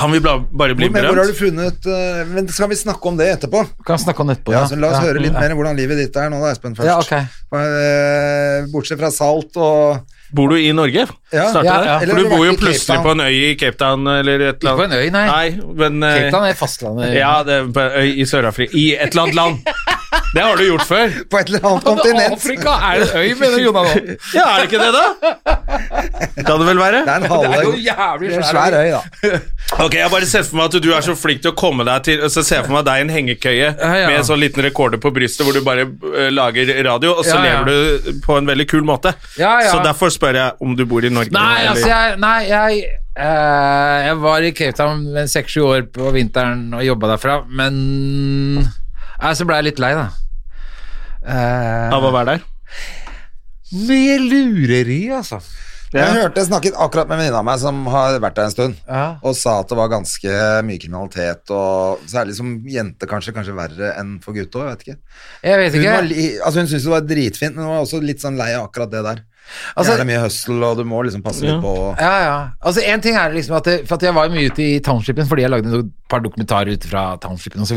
Han vil bla- bare bli
Men hvor har du
berømt.
funnet eh, Men skal vi snakke om det etterpå?
Vi kan snakke om det etterpå.
Ja, så La oss
Ja.
høre litt mer om hvordan livet ditt er nå, da, Espen, først.
Ja, ok.
Eh, Bortsett fra salt og
Bor du i Norge?
Ja,
Starter
ja,
det?
ja.
For
Eller
du bor
vært
jo
i Cape
plutselig
Town.
på en øy i Cape Town eller et eller
Ikke på
annet.
en øy, nei.
men eh,
Cape Town er fastlandet.
Ja, det er på en øy i Sør-Afrika. I et eller annet land. Det har du gjort før.
På et eller annet kontinent!
Afrika er en øy, mener Jonas nå.
Ja, er det ikke det, da? Kan det vel være?
Det er en halvøy.
Det er jo jævlig
Det er en
svær
svær øy, da.
Ok, Jeg bare ser for meg at du er så flink til å komme deg til Så ser jeg for meg deg i en hengekøye
Ja, ja.
med en sånn liten rekorder på brystet hvor du bare eh, lager radio, og så
Ja, ja.
lever du på en veldig kul måte.
Ja, ja.
Så derfor spør jeg om du bor i Norge.
Nei,
eller-
altså jeg, nei, jeg, eh, jeg var i Cape Town med seks-sju år på vinteren og jobba derfra, men Nei, så ble jeg litt lei, da. Eh,
Av å være der?
mye lureri, altså.
Jeg hørte jeg snakket akkurat med en venninne av meg som har vært der en stund,
Ja.
og sa at det var ganske mye kriminalitet, og særlig som jente kanskje, kanskje verre enn for gutta, jeg vet ikke.
Eh, Jeg vet
Hun,
ikke.
var, li- altså hun syntes det var dritfint, men hun var også litt sånn lei av akkurat det der.
Altså-
det er mye høstel, og du må liksom passe litt på.
Ja, ja. Altså, en ting er liksom at det, For at jeg var mye ute i townshipen fordi jeg lagde et par dokumentarer ut fra townshipen osv.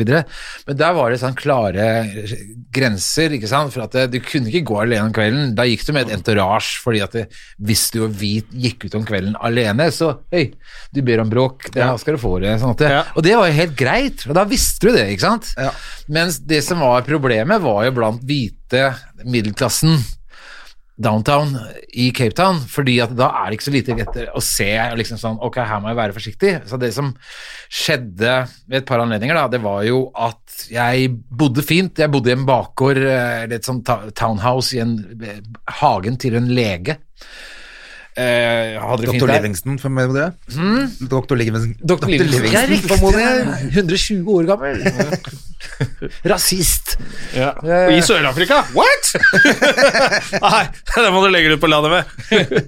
Men der var det sånn klare grenser, ikke sant. For at det, du kunne ikke gå alene om kvelden. Da gikk du med et entourage, fordi at det, hvis du og vi gikk ut om kvelden alene, så Hei, du ber om bråk, det her skal du få det. Sånn at det
Ja.
Og det var jo helt greit, og da visste du det, ikke sant.
Ja.
Mens det som var problemet, var jo blant hvite middelklassen downtown i Cape Town, fordi at da er det ikke så lite etter å se liksom sånn, ok, her må jeg være forsiktig. Så det som skjedde ved et par anledninger da, det var jo at jeg bodde fint, jeg bodde i en bakgård, eh, eller et sånt ta- townhouse i en eh, hagen til en lege. Eh, jeg hadde det fint
Dr.
der.
Livingston, for meg det? Dr. Livingston.
Dr. Livingston. Det er riktig, jeg er 120 år gammel. Rasist.
Ja.
ja, ja.
I Sør-Afrika? What?! Nei, det må du legge ut på landet med.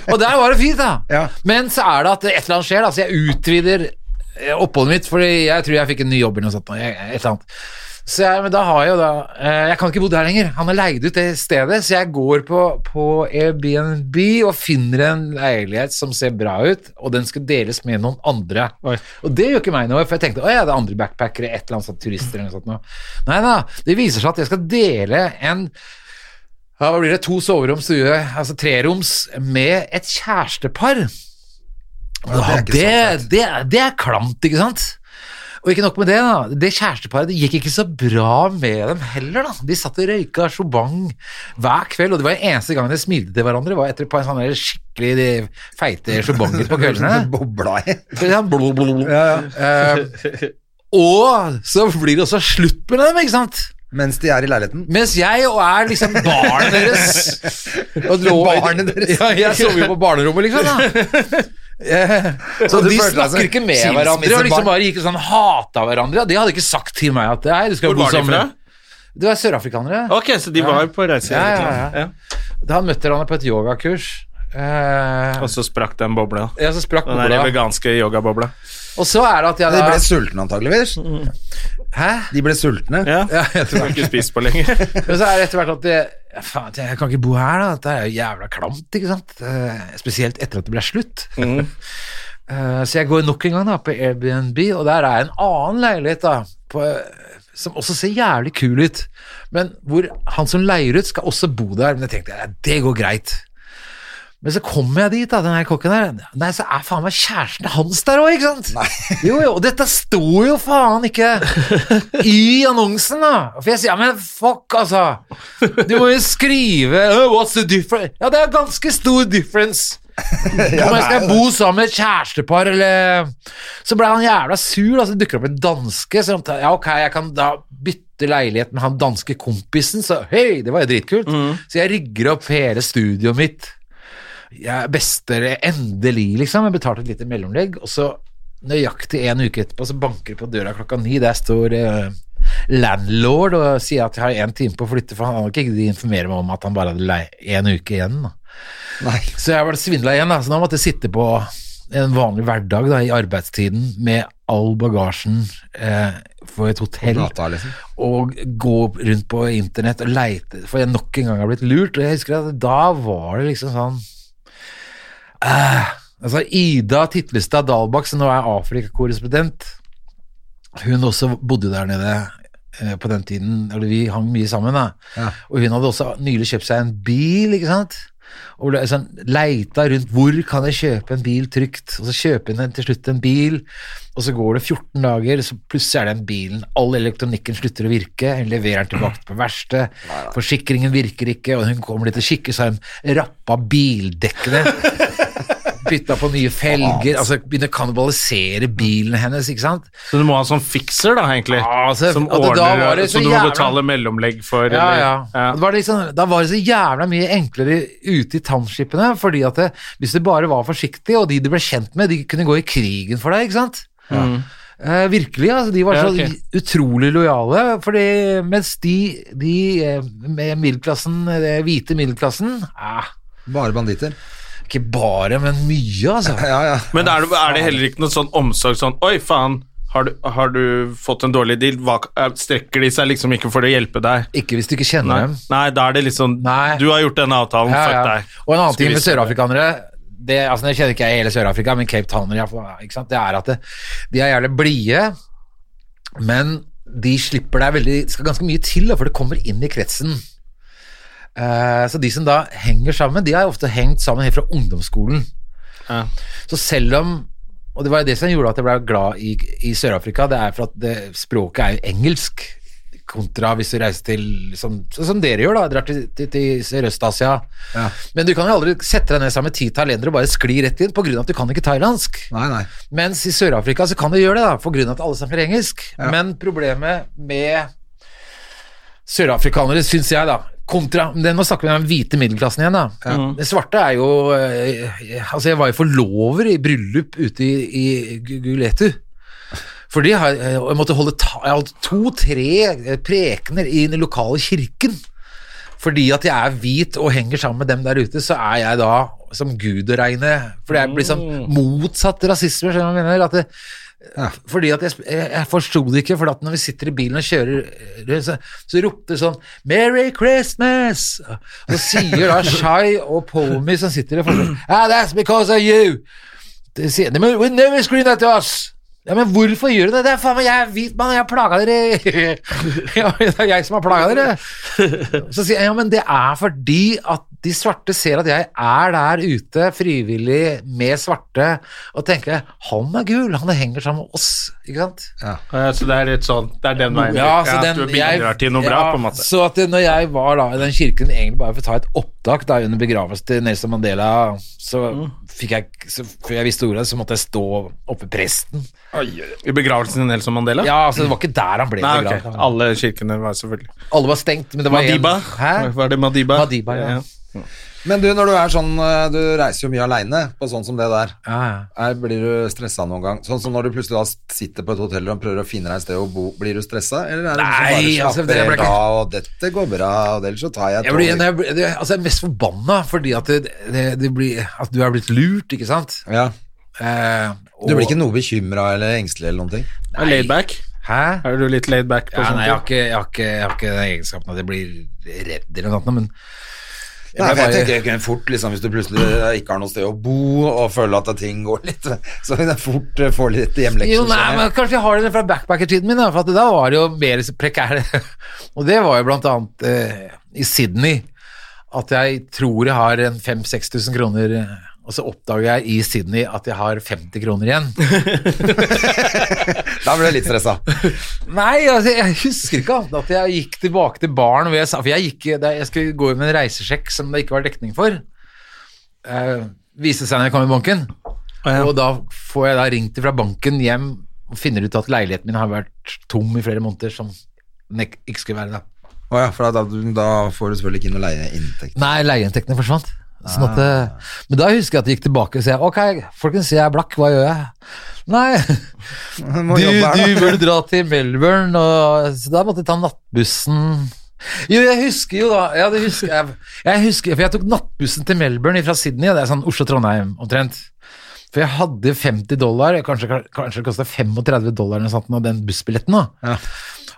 Og der var det fint, da.
Ja.
Men så er det at et eller annet skjer, da, så jeg utvider eh, oppholdet mitt, fordi jeg tror jeg fikk en ny jobb eller noe sånt. nå, jeg- Et eller annet. Så jeg, men da har jeg jo da eh, Jeg kan ikke bo der lenger. Han har leid ut det stedet, så jeg går på, på Airbnb og finner en leilighet som ser bra ut, og den skal deles med noen andre.
Oi.
Og det gjør ikke meg noe, for jeg tenkte å ja, det er andre backpackere, et eller annet sånt, turister eller noe sånt. nå». Nei da, det viser seg at jeg skal dele en ja, hva blir det? To soverom, stue, altså treroms, med et kjærestepar. Ja,
Ja, det er ikke
det,
så
det, det er klamt, ikke sant? Og ikke nok med det, da. Det kjæresteparet det gikk ikke så bra med dem heller, da. De satt og røyka sjobang hver kveld, og det var den eneste gangen de smilte til hverandre, var etter et par sånne skikkelig feite sjobanger på kveldene.
Det bobla i.
Ja, blå, blå, blå. Eh, og så blir det også slutt med dem, ikke sant?
Mens de er i leiligheten.
Mens jeg og er liksom barnet deres. Og
Barnet deres.
Ja, jeg sover jo på barnerommet, liksom. da Eh, Så
Og du
de
følte deg som
snakker ikke med
skilsmissebarn.
hverandre og liksom bare gikk og sånn hata hverandre. Og de hadde ikke sagt til meg at Nei, du skal
Hvor
bo
var de fra?
sammen. Det var sørafrikanere.
Ok, så de var på reise.
Ja, ja, ja. Da møtte han på et yogakurs. Eh,
Og så sprakk den bobla.
ja, så sprakk
Den der
bobla.
veganske yogabobla.
Og så er det at jeg
De ble
da
sultne, antageligvis.
Hæ?
De ble sultne.
Ja.
Ja, jeg
Du
tror det.
har ikke spist på lenge.
Men så er det etter hvert at det, ja, faen, jeg kan ikke bo her, da. Dette er jo jævla klamt, ikke sant. Eh, Spesielt etter at det ble slutt. Eh, så jeg går nok en gang da på Airbnb, og der er en annen leilighet da på, eh, som også ser jævlig kul ut. Men hvor han som leier ut, skal også bo der. Men jeg tenkte ja, det går greit. Men så kommer jeg dit, da, den her kokken der. Nei, så er faen meg kjæresten hans der òg, ikke sant? Jo, jo, og dette sto jo faen ikke i annonsen, da. For jeg sier, ja, men fuck, altså. Du må jo skrive «Oh, What's the difference? Ja, det er ganske stor difference. Om jeg skal bo sammen med et kjærestepar, eller Så ble han jævla sur, da. Så dukker det opp en danske. Så han tar, ja, ok, jeg kan da bytte leilighet med han danske kompisen, så hei, det var jo dritkult. Så jeg rigger opp hele studioet mitt jeg bester endelig, liksom. Jeg betalte et lite mellomlegg, og så nøyaktig en uke etterpå så banker det på døra klokka ni. Der står eh, landlord og sier at jeg har en time på å flytte, for han hadde ikke de informere meg om at han bare hadde lei en uke igjen. Da.
Nei.
Så jeg ble svindla igjen, da. så da måtte jeg sitte på en vanlig hverdag da, i arbeidstiden med all bagasjen eh, for et hotell
Gata, liksom.
og gå rundt på internett og leite, for jeg nok en gang har blitt lurt. Og jeg husker at da var det liksom sånn eh, Altså Ida Titlestad Dalbakk, som nå er Afrikakorrespondent, hun også bodde der nede eh, på den tiden, eller vi hang mye sammen. da.
Ja.
Og hun hadde også nylig kjøpt seg en bil, ikke sant? Og ble sånn, leita rundt hvor kan jeg kjøpe en bil trygt, og så kjøper hun en- til slutt en bil, og så går det 14 dager, så plutselig er den bilen All elektronikken slutter å virke, hun leverer den tilbake på verksted, forsikringen virker ikke, og hun kommer dit og kikker, så har hun rappa bildekkene. Bytta på nye felger, altså begynner å kannibalisere bilen hennes, ikke sant?
Så du må ha sånn fikser, da, egentlig.
Ja, altså,
som
at det da
ordner,
var det så
som du må
jævla-
betale mellomlegg for.
Ja,
eller-
ja.
Ja.
Og Det var liksom, da var det så jævla mye enklere ute i townshipene, fordi at det, hvis du bare var forsiktig, og de du ble kjent med, de kunne gå i krigen for deg, ikke sant? Eh, virkelig, altså, de var
Ja,
så
ok.
utrolig lojale, fordi mens de, de eh, med middelklassen, eh, hvite middelklassen, eh,
Bare banditter.
ikke bare, men mye, altså.
Ja, ja.
Men er det, er det heller ikke noe sånn omsorg sånn Oi, faen, har du, har du fått en dårlig deal? Hva, eh, strekker de seg liksom ikke for å hjelpe deg?
Ikke hvis du ikke kjenner
Nei,
dem.
Nei da er det liksom
Nei.
Du har gjort denne avtalen,
Ja,
fuck
ja.
deg.
Og en annen ting
Skulle
med
vi-
sørafrikanere det, altså, Jeg kjenner ikke jeg hele Sør-Afrika, men Cape Town i hvert fall, ikke sant? Det er at det, de er jævlig blide, men de slipper deg veldig skal ganske mye til, da, for det kommer inn i kretsen. Eh, så de som da henger sammen, de har ofte hengt sammen helt fra ungdomsskolen.
Ja.
Så selv om Og det var jo det som gjorde at jeg ble glad i, i Sør-Afrika, det er for at det, språket er jo engelsk. Kontra hvis du reiser til som, sånn som dere gjør, da. Drar til, til, til Sørøst-Asia.
Ja.
Men du kan jo aldri sette deg ned sammen med ti thailendere og bare skli rett inn, pga. at du kan ikke thailandsk.
Nei, nei.
Mens i Sør-Afrika så kan du gjøre det, da, for grunn av at alle snakker engelsk.
Ja.
Men problemet med sørafrikanere, syns jeg, da Kontra, men det- Nå snakker vi om den hvite middelklassen igjen, da. Det svarte er jo eh, Altså, jeg var jo forlover i bryllup ute i, i Gu- Guletu. For de har, eh, og jeg måtte holde ta, jeg holdt to-tre eh, prekener i den lokale kirken. Fordi at jeg er hvit og henger sammen med dem der ute, så er jeg da som gud å regne. For det er liksom motsatt rasisme, skjønner du hva jeg mener? At det, Fordi at jeg, sp- jeg, jeg forsto det ikke, for at når vi sitter i bilen og kjører, eh, så, så ropte det sånn 'Merry Christmas!' Og så sier da Shai og Pomi som sitter der fortsatt ah, 'That's because of you!' Det sier de, men we never scream at us! Ja, men hvorfor gjør du det? Det er faen meg jeg er hvit mann, jeg har plaga dere! ja, det er jeg som har plaga dere! Så sier jeg, ja, men det er fordi at de svarte ser at jeg er der ute frivillig med svarte, og tenker han er gul, han henger sammen med oss, ikke sant?
Ja, Så det er litt sånn Det er den veien.
så den-
du bidrar
jeg-
til noe bra,
ja,
på en måte.
Så at det- når jeg var da i den kirken, egentlig bare for å ta et opptak da under begravelsen til Nelson Mandela, så fikk jeg, så, før jeg visste ordet, så måtte jeg stå oppe ved presten.
I begravelsen til Nelson Mandela?
Ja, altså det var ikke der han ble
Nei, ok.
begravd.
Alle kirkene var selvfølgelig
Alle var stengt, men det var en-
Madiba?
Hæ?
Var det Madiba?
Madiba, ja.
Men du, når du er sånn eh, Du reiser jo mye aleine på sånn som det der.
Ja, ja.
Er, blir du stressa noen gang? Sånn som når du plutselig da sitter på et hotellrom og prøver å finne deg et sted å bo, blir du stressa? Eller er det
Nei,
liksom
altså,
bare
det
slapper
ble
helt
ikke-
av, og dette går bra, og ellers så tar jeg et
Jeg blir,
tog».
jeg, blir- det- altså jeg er mest forbanna fordi at, det, det, det blir, at du er blitt lurt, ikke sant?
ja.
Eh,
Du
og,
blir ikke noe bekymra eller engstelig eller noen ting?
Er laid back?
Hæ?
Er sånn. du litt laid back på
Ja,
sånne
nei, jeg har
ting?
ikke, jeg har ikke, jeg har ikke den egenskapen at jeg blir redd eller noe sånt, men jeg
Nei, for
ble
jeg
bare-
tenker jeg kunne fort, liksom, Hvis du plutselig ikke har noe sted å bo og føler at ting går litt Så kan jeg fort eh, få litt hjemlekser.
Jo, nei,
sånn.
men Kanskje jeg har det fra backpackertiden min, da, for at da var det jo mer prekære. Og det var jo blant annet eh, i Sydney, at jeg tror jeg har en 5000-6000 kroner, eh, og så oppdager jeg i Sydney at jeg har 50 kroner igjen.
Da blir jeg litt stressa.
Nei, altså, jeg husker ikke annet enn at jeg gikk tilbake til baren. hvor jeg sa- For jeg, gikk, da jeg skulle gå inn med en reisesjekk som det ikke var dekning for. Eh, viste seg når jeg kom i banken. Og da får jeg da ringt fra banken hjem og finner ut at leiligheten min har vært tom i flere måneder, som den ikke ikke skulle være det.
Å ja, for da, da får du selvfølgelig ikke noe leieinntekt.
Nei, leieinntektene forsvant. Sånn
Ah.
at, eh, Men da husker jeg at jeg gikk tilbake og sa ok, folkens, jeg er blakk, hva gjør jeg? Nei,
Du må
du,
jobbe her, da.
du burde dra til Melbourne, og, så da måtte jeg ta nattbussen. Jo, jeg husker jo da ja, det husker jeg. jeg husker, For jeg tok nattbussen til Melbourne fra Sydney, og det er sånn Oslo-Trondheim omtrent. For jeg hadde 50 dollar, kanskje, kanskje det kosta 35 dollar eller noe sånt, nå, den bussbilletten. da.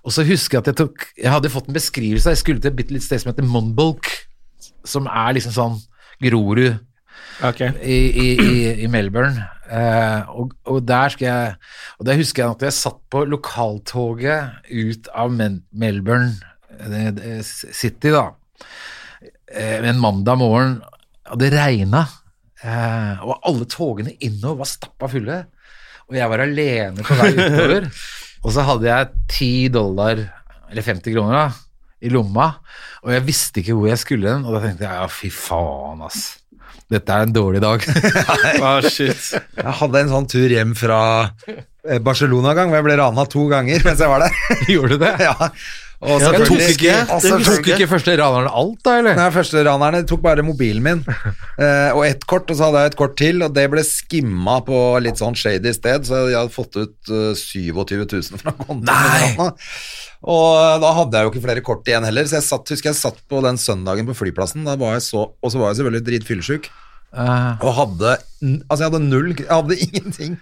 Og så husker jeg at jeg tok Jeg hadde fått en beskrivelse, jeg skulle til et bitte lite sted som heter Monbolk, som er liksom sånn Grorud
Ok.
i, i, i, i Melbourne. Eh, og, og der skal jeg Og der husker jeg at jeg satt på lokaltoget ut av Men Melbourne eh, eh, City, da. Eh, en mandag morgen, og det regna. Eh, og alle togene innover var stappa fulle. Og jeg var alene på vei utover. og så hadde jeg 10 dollar, eller 50 kroner, da, i lomma. Og jeg visste ikke hvor jeg skulle hen. Og da tenkte jeg ja, fy faen, ass. Dette er en dårlig dag.
Ah, shit.
Jeg hadde en sånn tur hjem fra eh, Barcelona en gang, hvor jeg ble rana to ganger mens jeg var der.
Gjorde du det?
ja. Og
Ja, det tok
selvfølgelig-
ikke-
og
det
selvfølgelig-
Tok ikke første raneren alt, da, eller?
Nei, første ranerne tok bare mobilen min eh, og ett kort, og så hadde jeg et kort til, og det ble skimma på litt sånn shady sted, så jeg hadde fått ut eh, 27 000 fra kontoen.
Nei!
min. Og eh, da hadde jeg jo ikke flere kort igjen heller, så jeg satt, husker jeg satt på den søndagen på flyplassen, da var jeg så, og så var jeg selvfølgelig dritfyllesyk. Og hadde n- Altså, jeg hadde null Jeg hadde ingenting.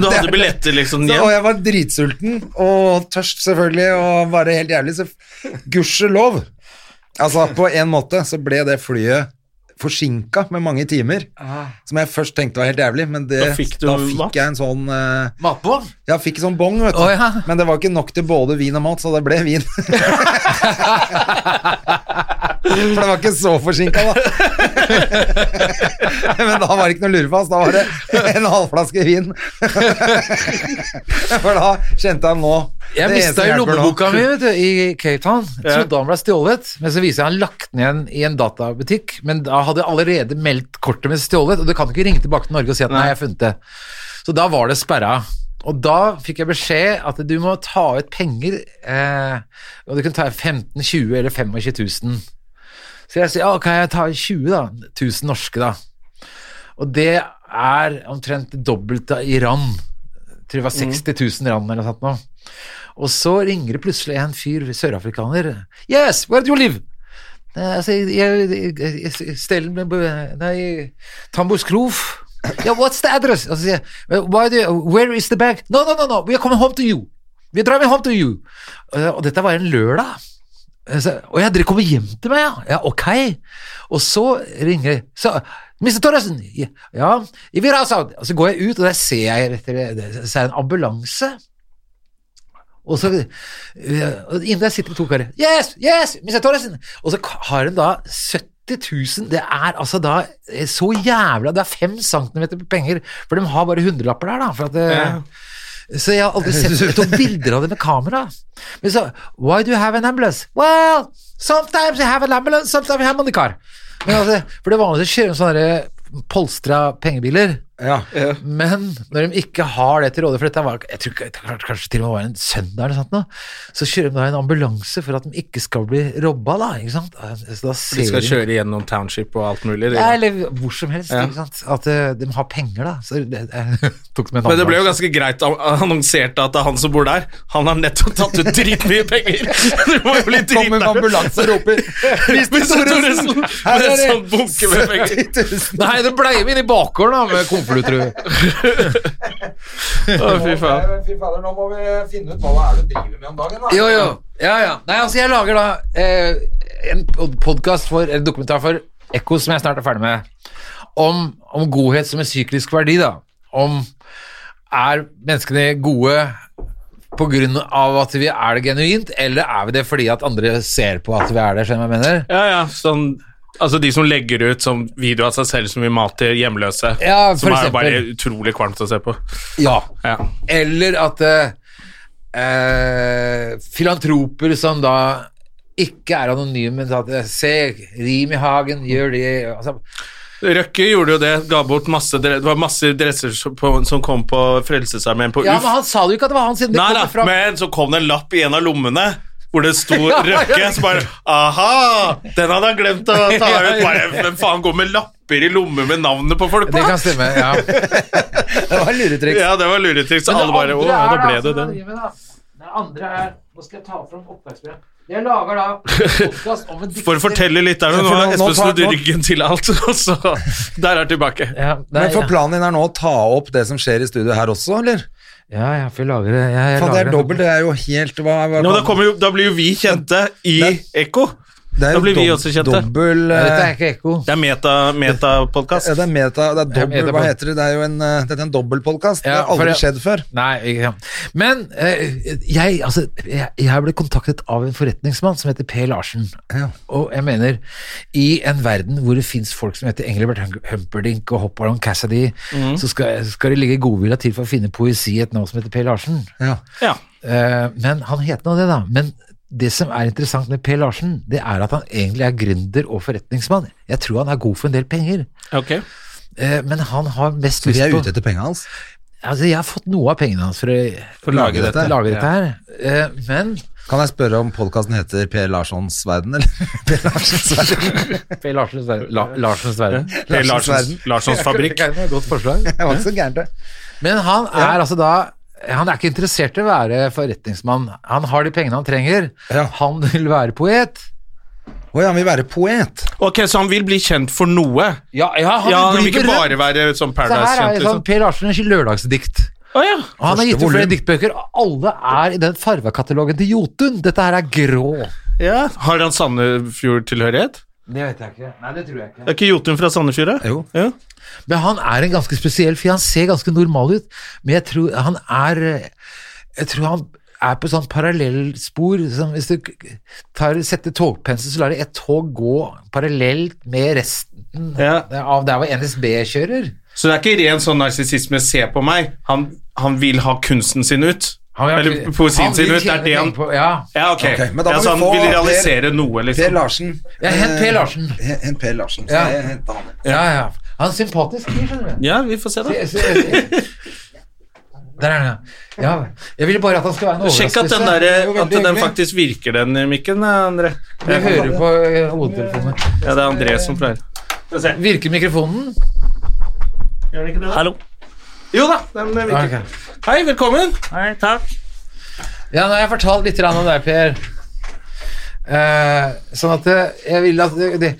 Du hadde billetter liksom
Så, og
igjen?
jeg var dritsulten og tørst, selvfølgelig, og bare helt jævlig. Så f- gudskjelov! Altså, på en måte så ble det flyet forsinka med mange timer, som jeg først tenkte var helt jævlig, men det,
Da fikk du mat?
jeg en sånn eh,
Matbånd?
Jeg fikk sånn bong, vet du.
Å, ja.
Men det var ikke nok til både vin og mat, så det ble vin. For det var ikke så forsinka, da. Men da var det ikke noe å lure på, ass. Da var det en halvflaske vin. For da kjente jeg nå
Jeg
det
mista
eneste
jo
hjelper nå.
lommeboka mi vet du, i Cape Town. Trodde han ble stjålet, men så viser jeg han lagt den igjen i en databutikk. Men da hadde jeg allerede meldt kortet mitt stjålet, og du kan ikke ringe tilbake til Norge og si at nei, jeg har funnet det. Så da var det sperra. Og da fikk jeg beskjed at du må ta ut penger, eh, og du kan ta 15 000, 20 000 eller 25 000. Så jeg sier ja, kan jeg ta 20 000 da? 1000 norske, da. Og det er omtrent det dobbelte i rand. Jeg tror det var 60 000 rand eller noe sånt nå. Og så ringer det plutselig en fyr, sørafrikaner. Yes, where do you live? Nei, Altså, jeg, jeg, jeg, jeg stell med Nei, Tambos Kloof. Yeah, what's the address? Og så sier jeg, Why do you, where is the bag? No, no, no, no, we are coming home to you. We are driving home to you. Eh, Og dette var en lørdag. Eh, Så, og jeg, dere kommer hjem til meg, ja? ja ok. Og så ringer jeg. Så, Mr. Torresen, ja, ja, vi er altså. Og så går jeg ut, og der ser jeg etter, så er det en ambulanse. Og så eh, og Inni der sitter det to karer. Yes, yes, Mr. Torresen! Og så ka- har de da 70 000 Det er altså da eh, så jævla Det er fem centimeter penger, for de har bare hundrelapper der, da. For at, eh, Så jeg har aldri sett jeg tok bilder av det med kamera. Men så Why do you have an ambulance? Well, sometimes I have an ambulance, sometimes I have money car. Men altså, for det vanlige kjører de sånne der polstra pengebiler.
Ja.
Men når de ikke har det til råde, for dette var jeg tror, ikke- det var kanskje til og med var en søndag, eller sånt nå, så kjører de da en ambulanse for at de ikke skal bli robba. Da, ikke sant? Så da ser
De skal
de-
kjøre gjennom township og alt mulig. liksom.
Ja,
De.
eller hvor som helst. Ikke sant? At eh, de har penger, da. Så det, jeg tok med en
Men det ble jo
ambulanse.
ganske greit an- annonsert at det er han som bor der, han har nettopp tatt ut dritmye penger. Det må jo bli
Kommer en
dritnært.
ambulanse og roper
Mr. Thoresen,
her
med
er det
en sånn bunke med penger.
70 000.
Nei, det blei med inn i bakgården da, med konvolutter.
Å, fy faen.
Fy fader, nå må vi finne ut hva det er du driver med om dagen, da.
Jo, jo. Ja, ja. Nei, altså, jeg lager da eh, en podkast for En dokumentar for Ekko, som jeg snart er ferdig med, om, om godhet som en syklisk verdi, da. Om er menneskene gode på grunn av at vi er det genuint, eller er vi det fordi at andre ser på at vi er det, skjønner du hva jeg mener?
Ja, ja, sånn Altså De som legger ut sånn video av seg selv som vil mate hjemløse.
Ja, for
som er jo
eksempel.
bare utrolig kvalmt å se på.
Ja.
Ja.
Eller at eh, eh, filantroper som da ikke er anonyme, men at eh, Se, rim i hagen, gjør det altså,
Røkke gjorde jo det. Ga bort masse dre- Det var masse dresser som på- som kom på Frelsesarmeen på
Ja,
UF.
men han sa det jo ikke at det var han, siden det
Nei da,
kommer fra
men så kom det en lapp i en av lommene. Hvor det sto
Ja, ja.
Røkke, så bare Aha! Den hadde han glemt å ta ut. Bare, Hvem faen går med lapper i lommer med navnet på folk
Det
på?
kan stemme, ja.
Det var luretriks.
Ja, det var luretriks. Alle bare Å, ja, da
altså
ble det det.
Det andre er Nå skal jeg ta fram opptaksbrevet. Jeg lager da podkast om en dikter
For å fortelle litt der,
Ja,
nå
for nå-
har
nå
Espen
tar-
snudd
nå-
ryggen til alt, og så Der er tilbake.
ja, det
Men
er,
for planen din er nå å ta opp det som skjer i studio her også, eller?
ja, ja, for jeg lager det. Ja, jeg
Faen, det
lager
er dobbelt, det er jo helt hva, hva
Ja, men da, kommer jo, da blir jo vi kjente i
Men-
Ekko.
Det er
Da
jo
blir vi
dob-
også kjente.
Dobbel
Nei, Dette
eh,
er ikke ekko.
Det er meta-
ja,
meta-podkast.
det er meta, det er
Det er
dobbel, hva
metapod-
heter det? Det er jo en, eh, dette er en dobbeltpodkast. det
Ja,
har aldri
for
skjedd før.
Nei, ikke sant. Men eh, jeg, altså, jeg, jeg ble kontaktet av en forretningsmann som heter P. Larsen.
Ja.
Og jeg mener, i en verden hvor det fins folk som heter Engelbert Hum- Humperdinck og Hop Along Cassidy, så skal, skal det ligge godvilja til for å finne poesi i et navn som heter P. Larsen.
Ja.
Ja.
Eh, men han het nå det, da. Men det som er interessant med P. Larsen, det er at han egentlig er gründer og forretningsmann. Jeg tror han er god for en del penger,
Ok.
Eh, men han har mest
Vi
lyst
er
på
ute etter penga hans.
Altså, jeg har fått noe av pengene hans for å
For å lage dette.
lage dette her. Eh, men
Kan jeg spørre om podkasten heter Per Larssons verden, eller? Per Larssons verden.
Per Larsens verden. La, Larsens verden.
Per Larsens, Larsens fabrikk.
Det er et Godt forslag.
Det var ikke så gærent, det.
Men han er altså da han er ikke interessert i å være forretningsmann. Han har de pengene han trenger.
Ja.
Han vil være poet.
Å ja, han vil være poet.
Ok, Så han vil bli kjent for noe?
Ja, han,
ja, han
vil
vil ikke
bli berømt.
bare være sånn
Så her er
Paradise-kjent,
sånn
liksom?
Per Larsens lørdagsdikt.
Å ja.
Og han har gitt ut
volum.
flere diktbøker. og Alle er i den farvekatalogen til Jotun. Dette her er grå.
ja. Har han Sandefjord-tilhørighet?
Det vet jeg ikke. Nei, det tror jeg ikke.
Er ikke Jotun fra Sandefjord, da?
Jo.
Ja.
Men han er en ganske spesiell fyr. Han ser ganske normal ut, men jeg tror han er Jeg tror han er på sånn parallellspor. Sånn hvis du tar, setter togpensel, så lar de ett tog gå parallelt med resten
Ja.
av der hvor NSB kjører.
Så det er ikke ren sånn narsissisme 'se på meg'. Han, han vil ha kunsten sin ut.
Han vil-
Eller poesien
han vil
sin ut. Det
tjene
er det han
penger på- Ja.
Ja, ok.
Ok, men da må
ja,
vi
så han
få
vil
Per-
realisere noe,
Per
liksom.
Larsen.
Ja, hent Per Larsen.
Eh, Hent Per Larsen. Så
Ja.
jeg hentet han.
ja, ja. Han er sympatisk fyr, skjønner du.
Ja, vi får se, da.
Jeg- jeg- Der er han, ja. ja. Jeg ville bare at han skulle være en overraskelse.
Sjekk at den, der,
Det er jo
at
veldig
den
hyggelig.
faktisk virker, den mikken, André.
Jeg hører på eh, hodetelefonene.
Ja, det er André som pleier.
Virker mikrofonen?
Hallo. Jo da, den virker.
Ok.
Hei, velkommen. Hei, takk.
Ja, nå har jeg fortalt litt grann om deg, Per. Eh, sånn at eh, jeg vil at det, det,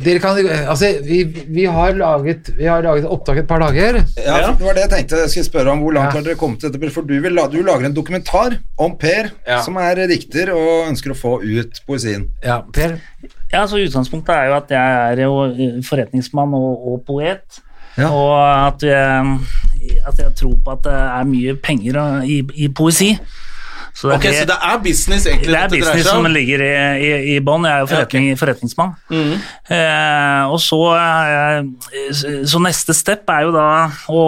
dere kan Altså, vi, vi, har laget, vi har laget opptak et par dager.
Ja,
Ja.
for det var det jeg tenkte jeg skulle spørre om. Hvor langt
Ja.
har dere kommet til dette? For du, vil, la- du lager en dokumentar om Per,
Ja.
som er dikter og ønsker å få ut poesien.
Ja, Per.
Ja, så Utgangspunktet er jo at jeg er jo eh, forretningsmann og, og poet.
Ja.
Og at jeg, at jeg tror på at det er mye penger eh, i, i poesi. Så det er,
Ok, Så
det,
det er business, egentlig?
det er
dette dreier
business
seg om?
som ligger i, i, i bånn. Jeg
Ja,
er jo
ok. Mm.
forretning, forretningsmann. Eh, og så, er jeg- eh, så neste step er jo da å,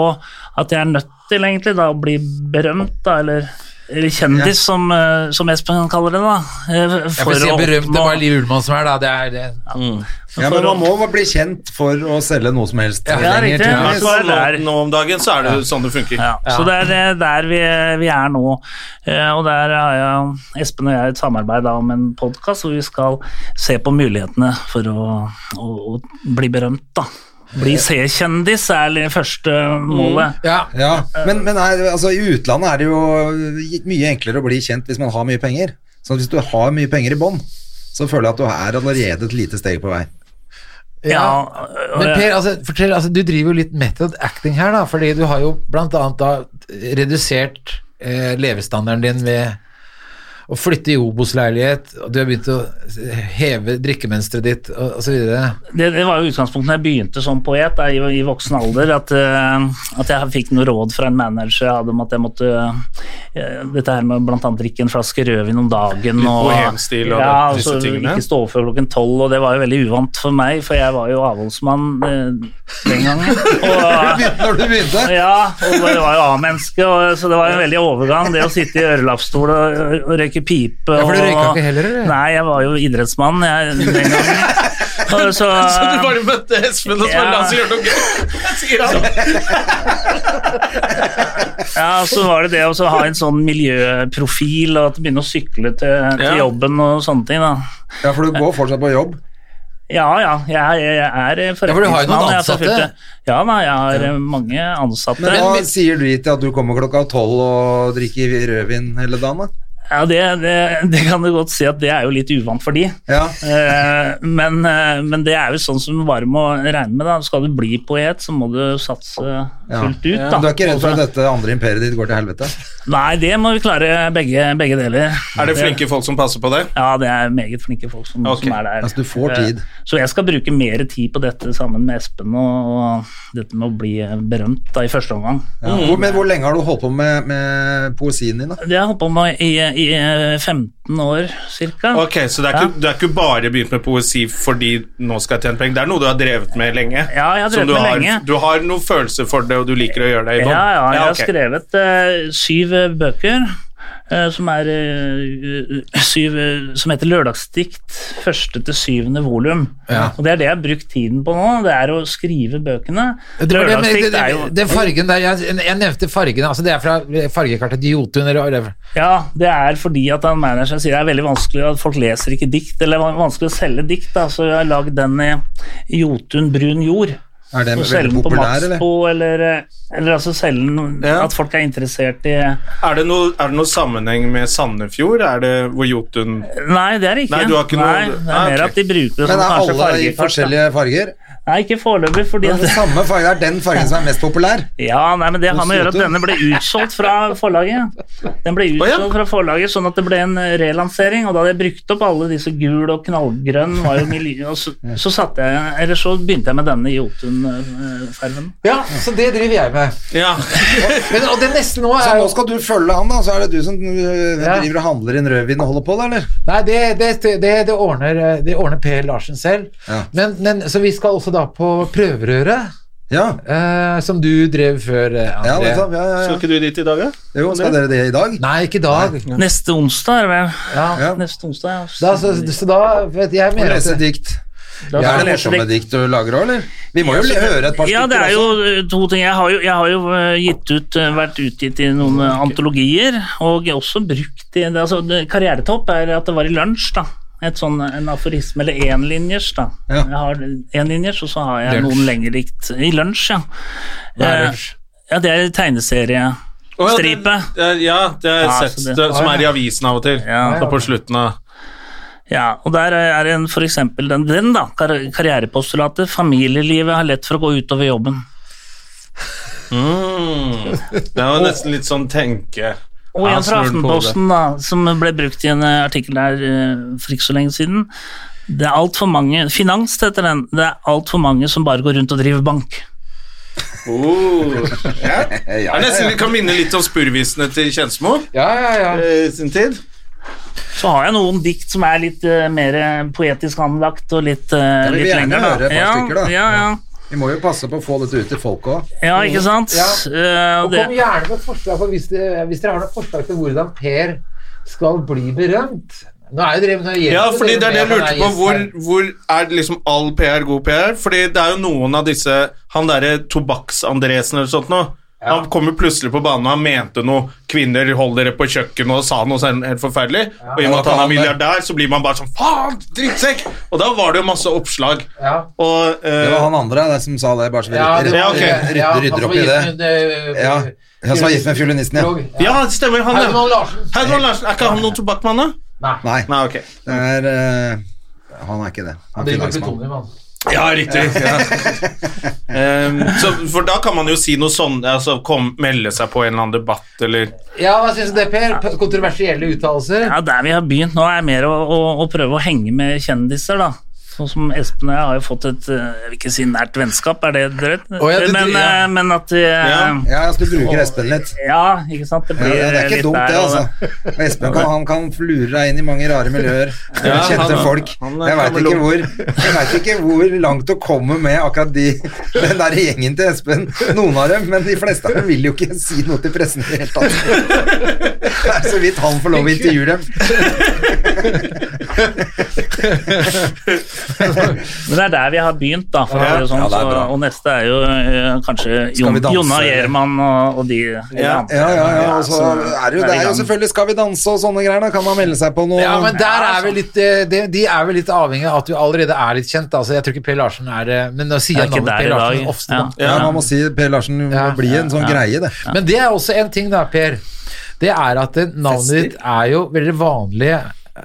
at jeg er nødt til egentlig da å bli berømt, da, eller eller kjendis, som, eh, som Espen kaller det. da. eh,
Jeg
For
vil si
å
berømt det
oppnå-
var Liv Ullmann som er, da. Det er det.
Ja, men man må bare bli kjent for å selge noe som helst.
Ja,
lenger
riktig.
til.
Ja, så
Sånn
det er der.
nå, nå om dagen så er det jo sånn det funker.
Ja, Så det er eh, der vi, vi er nå. Eh, Og der har jeg, Espen og jeg et samarbeid da, om en podkast hvor vi skal se på mulighetene for å, å, å bli berømt. da. Bli C-kjendis er det første målet.
Ja.
Ja,
Eh,
Men, men er, altså, i utlandet er det jo mye enklere å bli kjent hvis man har mye penger. Så hvis du har mye penger i bånn, så føler jeg at du er allerede et lite steg på vei.
Ja, og
Men
det-
Per, altså, fortell, altså, du driver jo litt method acting her, da. Fordi du har jo blant annet da redusert eh, levestandarden din ved å flytte i Obos-leilighet, og du har begynt å heve drikkemønsteret ditt, og, og så videre.
det, det var jo utgangspunktet da jeg begynte som poet da, i, i voksen alder. At, eh, at jeg fikk noe råd fra en manager jeg hadde om at jeg måtte eh, Dette her med bl.a. drikke en flaske rødvin om dagen.
Litt
Og,
bohemstil og
ja,
disse
altså,
tingene.
Ikke stå opp før klokken tolv, og det var jo veldig uvant for meg, for jeg var jo avholdsmann eh, den gangen. Og, eh,
Når du begynte?
ja, og det var jo A-menneske, og- så det var en veldig overgang. Det å sitte i ørelappstol og, og røyke pipe
for du
og-
røyka ikke heller, eller?
Nei, jeg var jo idrettsmann jeg, den gangen. Og Så,
Så du bare møtte Espen og spurte
Ja.
la oss gjøre noe gøy? Sier han.
ja, så var det det å så ha en sånn miljøprofil og at du begynner å sykle til, til
Ja.
jobben og sånne ting. da.
Ja, for du går fortsatt på jobb.
Ja, ja, jeg, jeg er forretningsmann.
for du har jo noen
jeg,
ansatte.
så fulgte- Ja, nei, jeg har eh, mange ansatte.
Men hva sier du til at du kommer klokka tolv og drikker rødvin hele dagen? da?
Ja, det, det, det kan du godt si at det er jo litt uvant for de.
Ja.
Eh, men, eh, men det er jo sånn som du bare må regne med. Da. Skal du bli poet, så må du satse
Ja.
fullt ut. Da.
Men du er ikke redd for
Og
at
så-
dette andre imperiet ditt går til helvete?
Nei, det må vi klare begge, begge deler.
Er det flinke folk som passer på det?
Ja, det er meget flinke folk som,
Ok.
som er der.
Altså, du får tid.
Eh, Så jeg skal bruke mer tid på dette sammen med Espen og, og dette med å bli berømt da, i første omgang.
Ja. Hvor, men hvor lenge har du holdt på med, med poesien din, da?
Det har jeg holdt på med i, i 15 år ca.
Ok, Så det er ikke, du er ikke bare begynt med poesi fordi nå skal jeg tjene penger. Det er noe du har drevet med lenge?
Ja, jeg har
Som
drevet
du
med
har,
lenge.
Du har noen følelse for det, og du liker å gjøre det i
Ja,
bånn?
ja, jeg har
ok.
skrevet eh, syv eh, bøker. eh, som er eh, syv eh, Som heter 'Lørdagsdikt', første til syvende volum. Og det er det jeg har brukt tiden på nå. Det er å skrive bøkene.
Det, var det, men det,
Lørdagsdikt er jo
det, det fargen der, jeg, jeg nevnte fargen, altså det er fra fargekartet til Jotun. Eller, eller.
Ja, det er fordi at han manageren sier det er veldig vanskelig at folk leser ikke dikt, eller det er vanskelig å selge dikt, da, så jeg har lagd den i Jotun brun jord.
Er den
Og
veldig
selge den på
populær, eller?
Maxbo, eller, eller altså selge den
Ja.
at folk er interessert i
Er det, noe, er det noe sammenheng med Sandefjord? Er det hvor Jotun
Nei, det er det ikke.
Nei, du har ikke noe-
Nei, det er
Nei, ok.
mer at de bruker det
Men
som
er
kanskje
alle i
fargekart, da.
forskjellige farger?
Nei, ikke foreløpig, fordi
Det er
at
den samme farge, det er den fargen som er mest populær.
Ja, nei, men det har med å gjøre at
Slutt, du.
denne ble utsolgt fra forlaget. Den ble
Å, ja.
utsolgt fra forlaget, sånn at det ble en eh, relansering, og da hadde jeg brukt opp alle disse gul og knallgrønn, var jo miljø, og så, så satte jeg, eller så begynte jeg med denne eh, Jotun-farven.
Ja, så det driver jeg med.
Ja,
Men, og det neste nå
Så
er
nå
jo
skal du følge han, da, så er det du som øh,
Ja.
driver og handler inn rødvin og holder på, da, eller?
Nei, det, det, det, det, ordner, det ordner Per Larsen selv.
Ja.
Men, men, så vi skal også da på prøverøret,
Ja.
eh, som du drev før, eh,
Ja,
André.
nettopp. Ja, ja,
Skal
ja.
ikke du dit i dag, da?
Jo, skal dere det i dag?
Nei, ikke i dag.
Neste onsdag, er det vel?
Ja.
Ja.
Neste onsdag, ja.
Da, så, så da vet jeg
Og
mener at
lese
det-
dikt.
Da
Er
skal
det
jeg lese
morsomme
dikt.
dikt du lager òg, eller? Vi må jo høre et par stykker. altså.
Ja, det er jo
også.
eh, to ting. Jeg har jo, jeg har jo eh, gitt ut, eh, vært utgitt i noen eh, antologier, og jeg har også brukt i det, altså, det, Karrieretopp er at det var i lunsj, da. Et sånn, en aforisme, eller énlinjers, da.
Ja.
Jeg har énlinjers, og så har jeg
Lunsj.
noen lengre dikt. I lunsj, ja.
er
Eh,
lunsj?
Ja, det er tegneseriestripe.
Å, ja, det- det- Ja, det har jeg
Ja,
sett.
så det-
det, som er i avisen av og til.
Ja.
Og på slutten av
Ja, og der eh, er en for eksempel den, den da, kar karrierepostulatet. Familielivet har lett for å gå utover jobben.
mm. Det var nesten litt sånn tenke
Og
Ja,
en fra
snurr på
Aftenposten, da, som ble brukt i en eh, artikkel der eh, for ikke så lenge siden. Det er altfor mange Finans heter den. Det er altfor mange som bare går rundt og driver bank.
Oh. Ja.
ja,
Det er nesten
ja.
vi kan minne litt om spurvisene til Kjensmo
Ja, ja, ja.
eh, sin tid.
Så har jeg noen dikt som er litt eh, mer eh, poetisk anlagt og litt, uh,
vi vil
litt
gjerne
lenger.
høre et par
ja,
stykker, da.
Ja, ja.
Vi må jo passe på å få dette ut til folk òg.
ja, ikke sant?
Ja.
Eh,
Og
det,
kom gjerne med forslag for hvis, det, hvis dere har noen forslag til hvordan Per skal bli berømt. Nå er jo dere med
Ja, fordi det er det jeg lurte på. Hvor, hvor er liksom all PR god PR? Fordi det er jo noen av disse Han derre Tobakks-Andresen eller sånt nå. Han kommer plutselig på banen og han mente noe. Kvinner holder dere på kjøkkenet og sa noe sånn helt forferdelig. Og i og med at han er milliardær, så blir man bare sånn faen, drittsekk! Og da var det jo masse oppslag.
Ja.
Og eh,
Det var han andre det, som sa det, bare så vi rydder,
Ja, ok.
rydder, rydder, rydder opp i det.
eh,
Ja, han som var gift med fiolinisten, ja.
ja, det stemmer. Han ja.
Herman Larsen.
Herman Larsen. Er ikke han noen tobakkmann, da?
Nei.
Nei,
Nei, ok.
det er eh, Han er ikke det. Han
Han
er
driver med
finansmann.
plutonium, han.
Ja, riktig. Ehm, så, for da kan man jo si noe sånn altså, kom, Melde seg på en eller annen debatt eller
Ja, hva syns du det, Per? P- Kontroversielle uttalelser?
Ja, Der vi har begynt nå, er mer å, å, å prøve å henge med kjendiser, da. Sånn som Espen og jeg har jo fått et eh, jeg vil ikke si nært vennskap, er det drøyt?
Å, ja, det-
men,
ja.
eh, men at vi eh,
Ja, altså, du bruker Espen litt.
Ja, ikke sant? Det,
Ja,
blir
det er ikke
litt
dumt,
der,
det,
og-
altså. Og Espen kan, han kan lure deg inn i mange rare miljøer.
Ja,
kjente
han-
folk.
han er
Jeg veit ikke,
kameleon.
hvor- jeg vet ikke hvor langt å komme med akkurat de, den der gjengen til Espen. Noen av dem, men de fleste av dem vil jo ikke si noe til pressen i det hele tatt. Det er så vidt han får lov å intervjue dem.
Men det er der vi har begynt, da. For å si det sånn,
Ja, det er bra.
så, og neste er jo eh, kanskje
Skal vi
Jon,
danse,
Jonna
eller?
Gjerman og, og de. de
Ja.
andre.
Ja, ja, ja. Og så er det jo,
er
det
vi i
er jo
gang.
selvfølgelig Skal vi danse og sånne greier. Da kan man melde seg på noe.
Ja, men der er
altså-
vi litt eh, De, de er vel litt avhengig av at du allerede er litt kjent. Altså, jeg tror ikke Per Larsen er eh, Men nå sier
Jeg
jeg
er ikke
navnet
der
Per
i
Larsen
dag.
ofte, da.
Ja, man må si Per Larsen må
Ja.
bli en sånn greie, det.
Men det er også en ting, da, Per. det er at det, navnet
Fester.
ditt er jo veldig vanlig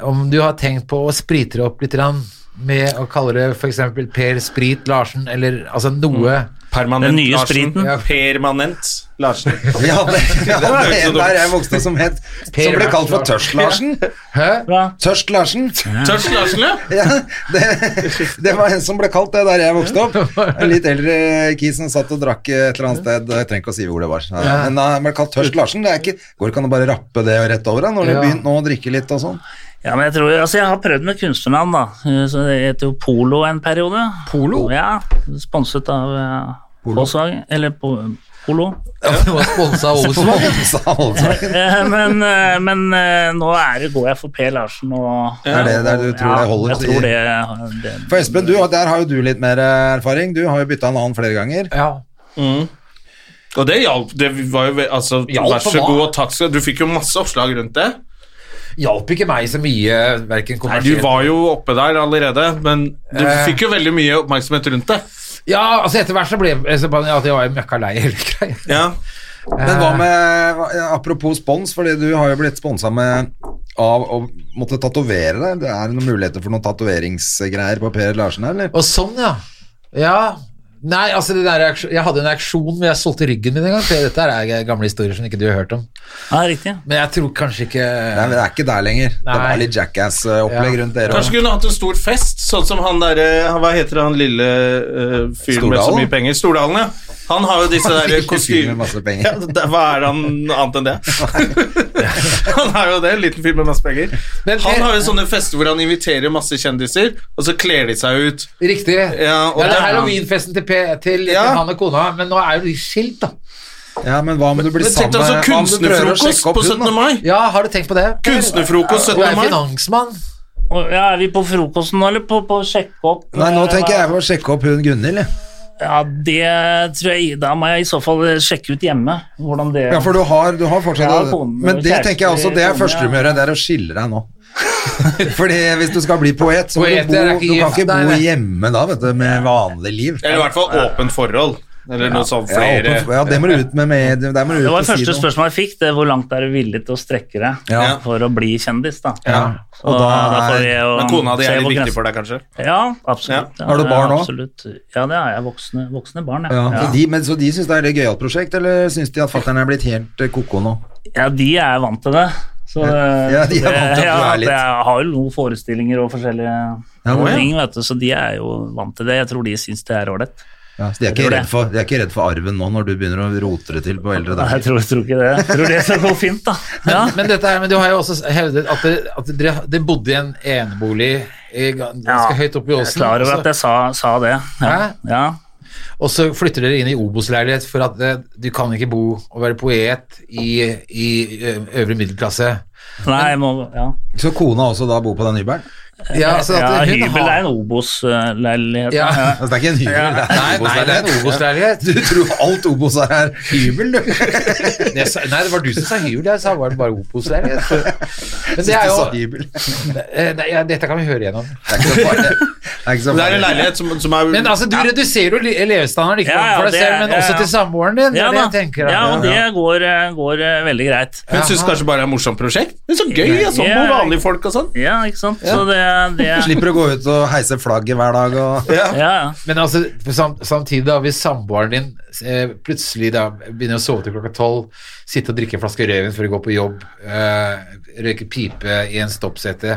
om du har tenkt på å sprite det opp litt grann, med å kalle det f.eks. Per Sprit Larsen, eller altså noe
Permanent
Den nye
Larsen.
spriten.
Ja. Permanent Larsen.
Ja, det, ja, det er en der jeg vokste opp som het Som ble kalt for Tørst-Larsen.
Hæ?
Bra.
Tørst-Larsen.
Tørs Larsen, ja.
Ja, det, det var en som ble kalt det der jeg vokste opp. En litt eldre kis som satt og drakk et eller annet sted. Jeg trenger ikke å si hvor det var. Men han ble kalt Tørst-Larsen. Det er ikke, går ikke an å bare rappe det rett over da, når du
Ja.
begynte nå å drikke litt og sånn.
Ja, men jeg tror, altså jeg har prøvd med kunstnernavn, da. Eh, Så det heter jo Polo en periode.
Polo?
Ja, sponset av eh, Volkswagen, eller po Polo.
Du
Mm.
var sponsa av Olsvang.
Så alle sammen.
Eh, Men, eh, men eh, nå er det, går jeg for Per Larsen og
Er det der du tror det holder?
Ja, jeg tror det, det
For Espen, du, der har jo du litt mer eh, erfaring. Du har jo bytta navn flere ganger.
Ja.
Og det hjalp. Det var jo ve- altså,
Hjalp
Vær så
for hva?
god og takk skal du Du fikk jo masse oppslag rundt det.
Hjalp ikke meg så mye,
Nei,
verken
du
kommersielt
var jo oppe der allerede, men du fikk jo veldig mye oppmerksomhet rundt det.
Ja, altså etter hvert så ble jeg så bare- at jeg var møkka lei hele greia.
Ja.
Men
Eh.
hva med hva- Apropos spons, fordi du har jo blitt sponsa med av å måtte tatovere deg. Det er noen muligheter for noen tatoveringsgreier på Per Larsen her, eller?
Og sånn, ja. Ja. Nei, altså det der, jeg hadde en auksjon hvor jeg solgte ryggen min en gang. for Dette her er gamle historier som ikke du har hørt om.
Ja, riktig.
Men jeg tror kanskje
Nei,
ikke
men Det er ikke der lenger. Det
Nei.
var litt jackass-opplegg
Ja.
rundt dere
Kanskje
òg.
kunne hatt en stor fest, sånn som han derre Hva heter han lille eh, fyren med så
Stordalen?
mye penger? Stordalen, ja. Han har jo disse derre
Med
kostymer
masse penger.
ja, det- Hva er han annet enn det? han er jo det, en liten fyr med masse penger.
Men Per-
Han har
sånn-
jo sånne fester hvor han inviterer masse kjendiser, og så kler de seg ut.
Riktig.
Ja, og
det er
det-
halloweenfesten til, P- til, til
Ja.
han og kona, men nå er jo de skilt, da.
Ja, men hva om du blir
Men
sammen
tenk deg altså
hva om du prøver å
kunstnerfrokost
sjekke opp
på 17.
hun, da?
mai.
Ja, har du tenkt på det?
Kunstnerfrokost
Du er
17. mai.
finansmann.
Og, ja, er vi på frokosten nå, eller på, på å sjekke opp?
Nei, nå
Eh,
tenker jeg på å sjekke opp hun Gunhild. jeg.
Ja, det tror jeg Da må jeg i så fall eh, sjekke ut hjemme hvordan det
Ja, for du har, du har
Ja,
fortsatt
kone,
Men det
kjæreste,
tenker jeg også, det er
kone,
første du må gjøre, det er å skille deg nå. Fordi hvis du skal bli poet, så må
Poeter
du bo
er ikke
Du kan
gift,
ikke
nei,
bo
nei.
hjemme da, vet du, med vanlig liv.
Eller i hvert fall åpent forhold. Eller noe sånt
Ja,
flere
åpen- ja, det må du ut med, med der må du ut
Det var
og si
første
noe.
spørsmål jeg fikk, det er hvor langt er du villig til å strekke deg
Ja.
for å bli kjendis, da. Så
og da
da får vi jo
Men kona di
se
er
hvor
litt viktig
grensen-
for deg, kanskje?
Ja, absolutt. Ja.
Har du barn
ja,
også?
Absolutt. Ja, det har jeg. Voksne, voksne barn,
Ja,
ja.
så de, men, så de syns det er et gøyalt prosjekt, eller syns de at fatter'n er blitt helt eh, ko-ko nå?
Ja, de er vant til det. Så det,
Ja, de er vant til at du
ja,
er litt-
Jeg har jo noen forestillinger og forskjellige
Ja, å, ja.
ting, vet du, så de er jo vant til det. Jeg tror de syns det er ålreit.
Ja, så de er, ikke
tror det.
redd for, de er ikke redd for arven nå, når du begynner å rote det til på eldre
Nei,
dager?
Jeg tror, jeg tror ikke det. Jeg tror det skal gå fint, da. Ja.
Men, dette her, men du har jo også hevdet at dere, at dere, dere bodde i en enebolig i gan- ganske
Ja,
høyt oppe i
Jeg er
åsen.
klar over at jeg sa, sa det. Ja.
Hæ?
ja.
Og så flytter dere inn i Obos-leilighet for at eh, du kan ikke bo og være poet i, i ø, øvre middelklasse.
Nei, jeg må Ja.
Så kona også da bor på den hybelen?
Ja, så Altså, at
ja,
hun
hybel
har-
er en Obos-leilighet.
Ja.
Altså, det er ikke en hybel, det er
Nei,
en
nei, det er en
Obos-leilighet.
Obos-leilighet.
Du tror alt Obos er her hybel, du?
Jeg sa- Nei, det var du som sa hybel, jeg sa var det bare Obos-leilighet. Men det er
Du
jo
sa hybel.
eh, nei, ja, Dette kan vi høre igjennom.
Det er ikke så farlig. Det er ikke så
Det er en
farlig.
leilighet som, som er
Men altså, du reduserer jo le- levestandarden ikke
Ja,
bare
ja,
for deg
det
selv,
er-
men
ja,
også
ja.
til samboeren din. Det
Ja,
er det
da.
jeg tenker.
ja, og
da.
det går, eh, går eh, veldig greit.
Hun syns kanskje bare det er et morsomt prosjekt. Men så gøy! ja, Sånn
Ja.
med vanlige folk og sånn.
Ja, ikke sant? Så det, det
Slipper å gå ut og heise flagget hver dag og
Ja, ja.
Men altså, sam, samtidig da, hvis samboeren din eh, plutselig da begynner å sove til klokka tolv, sitte og drikke en flaske rødvin for å gå på jobb, eh, røyke pipe i en stoppsete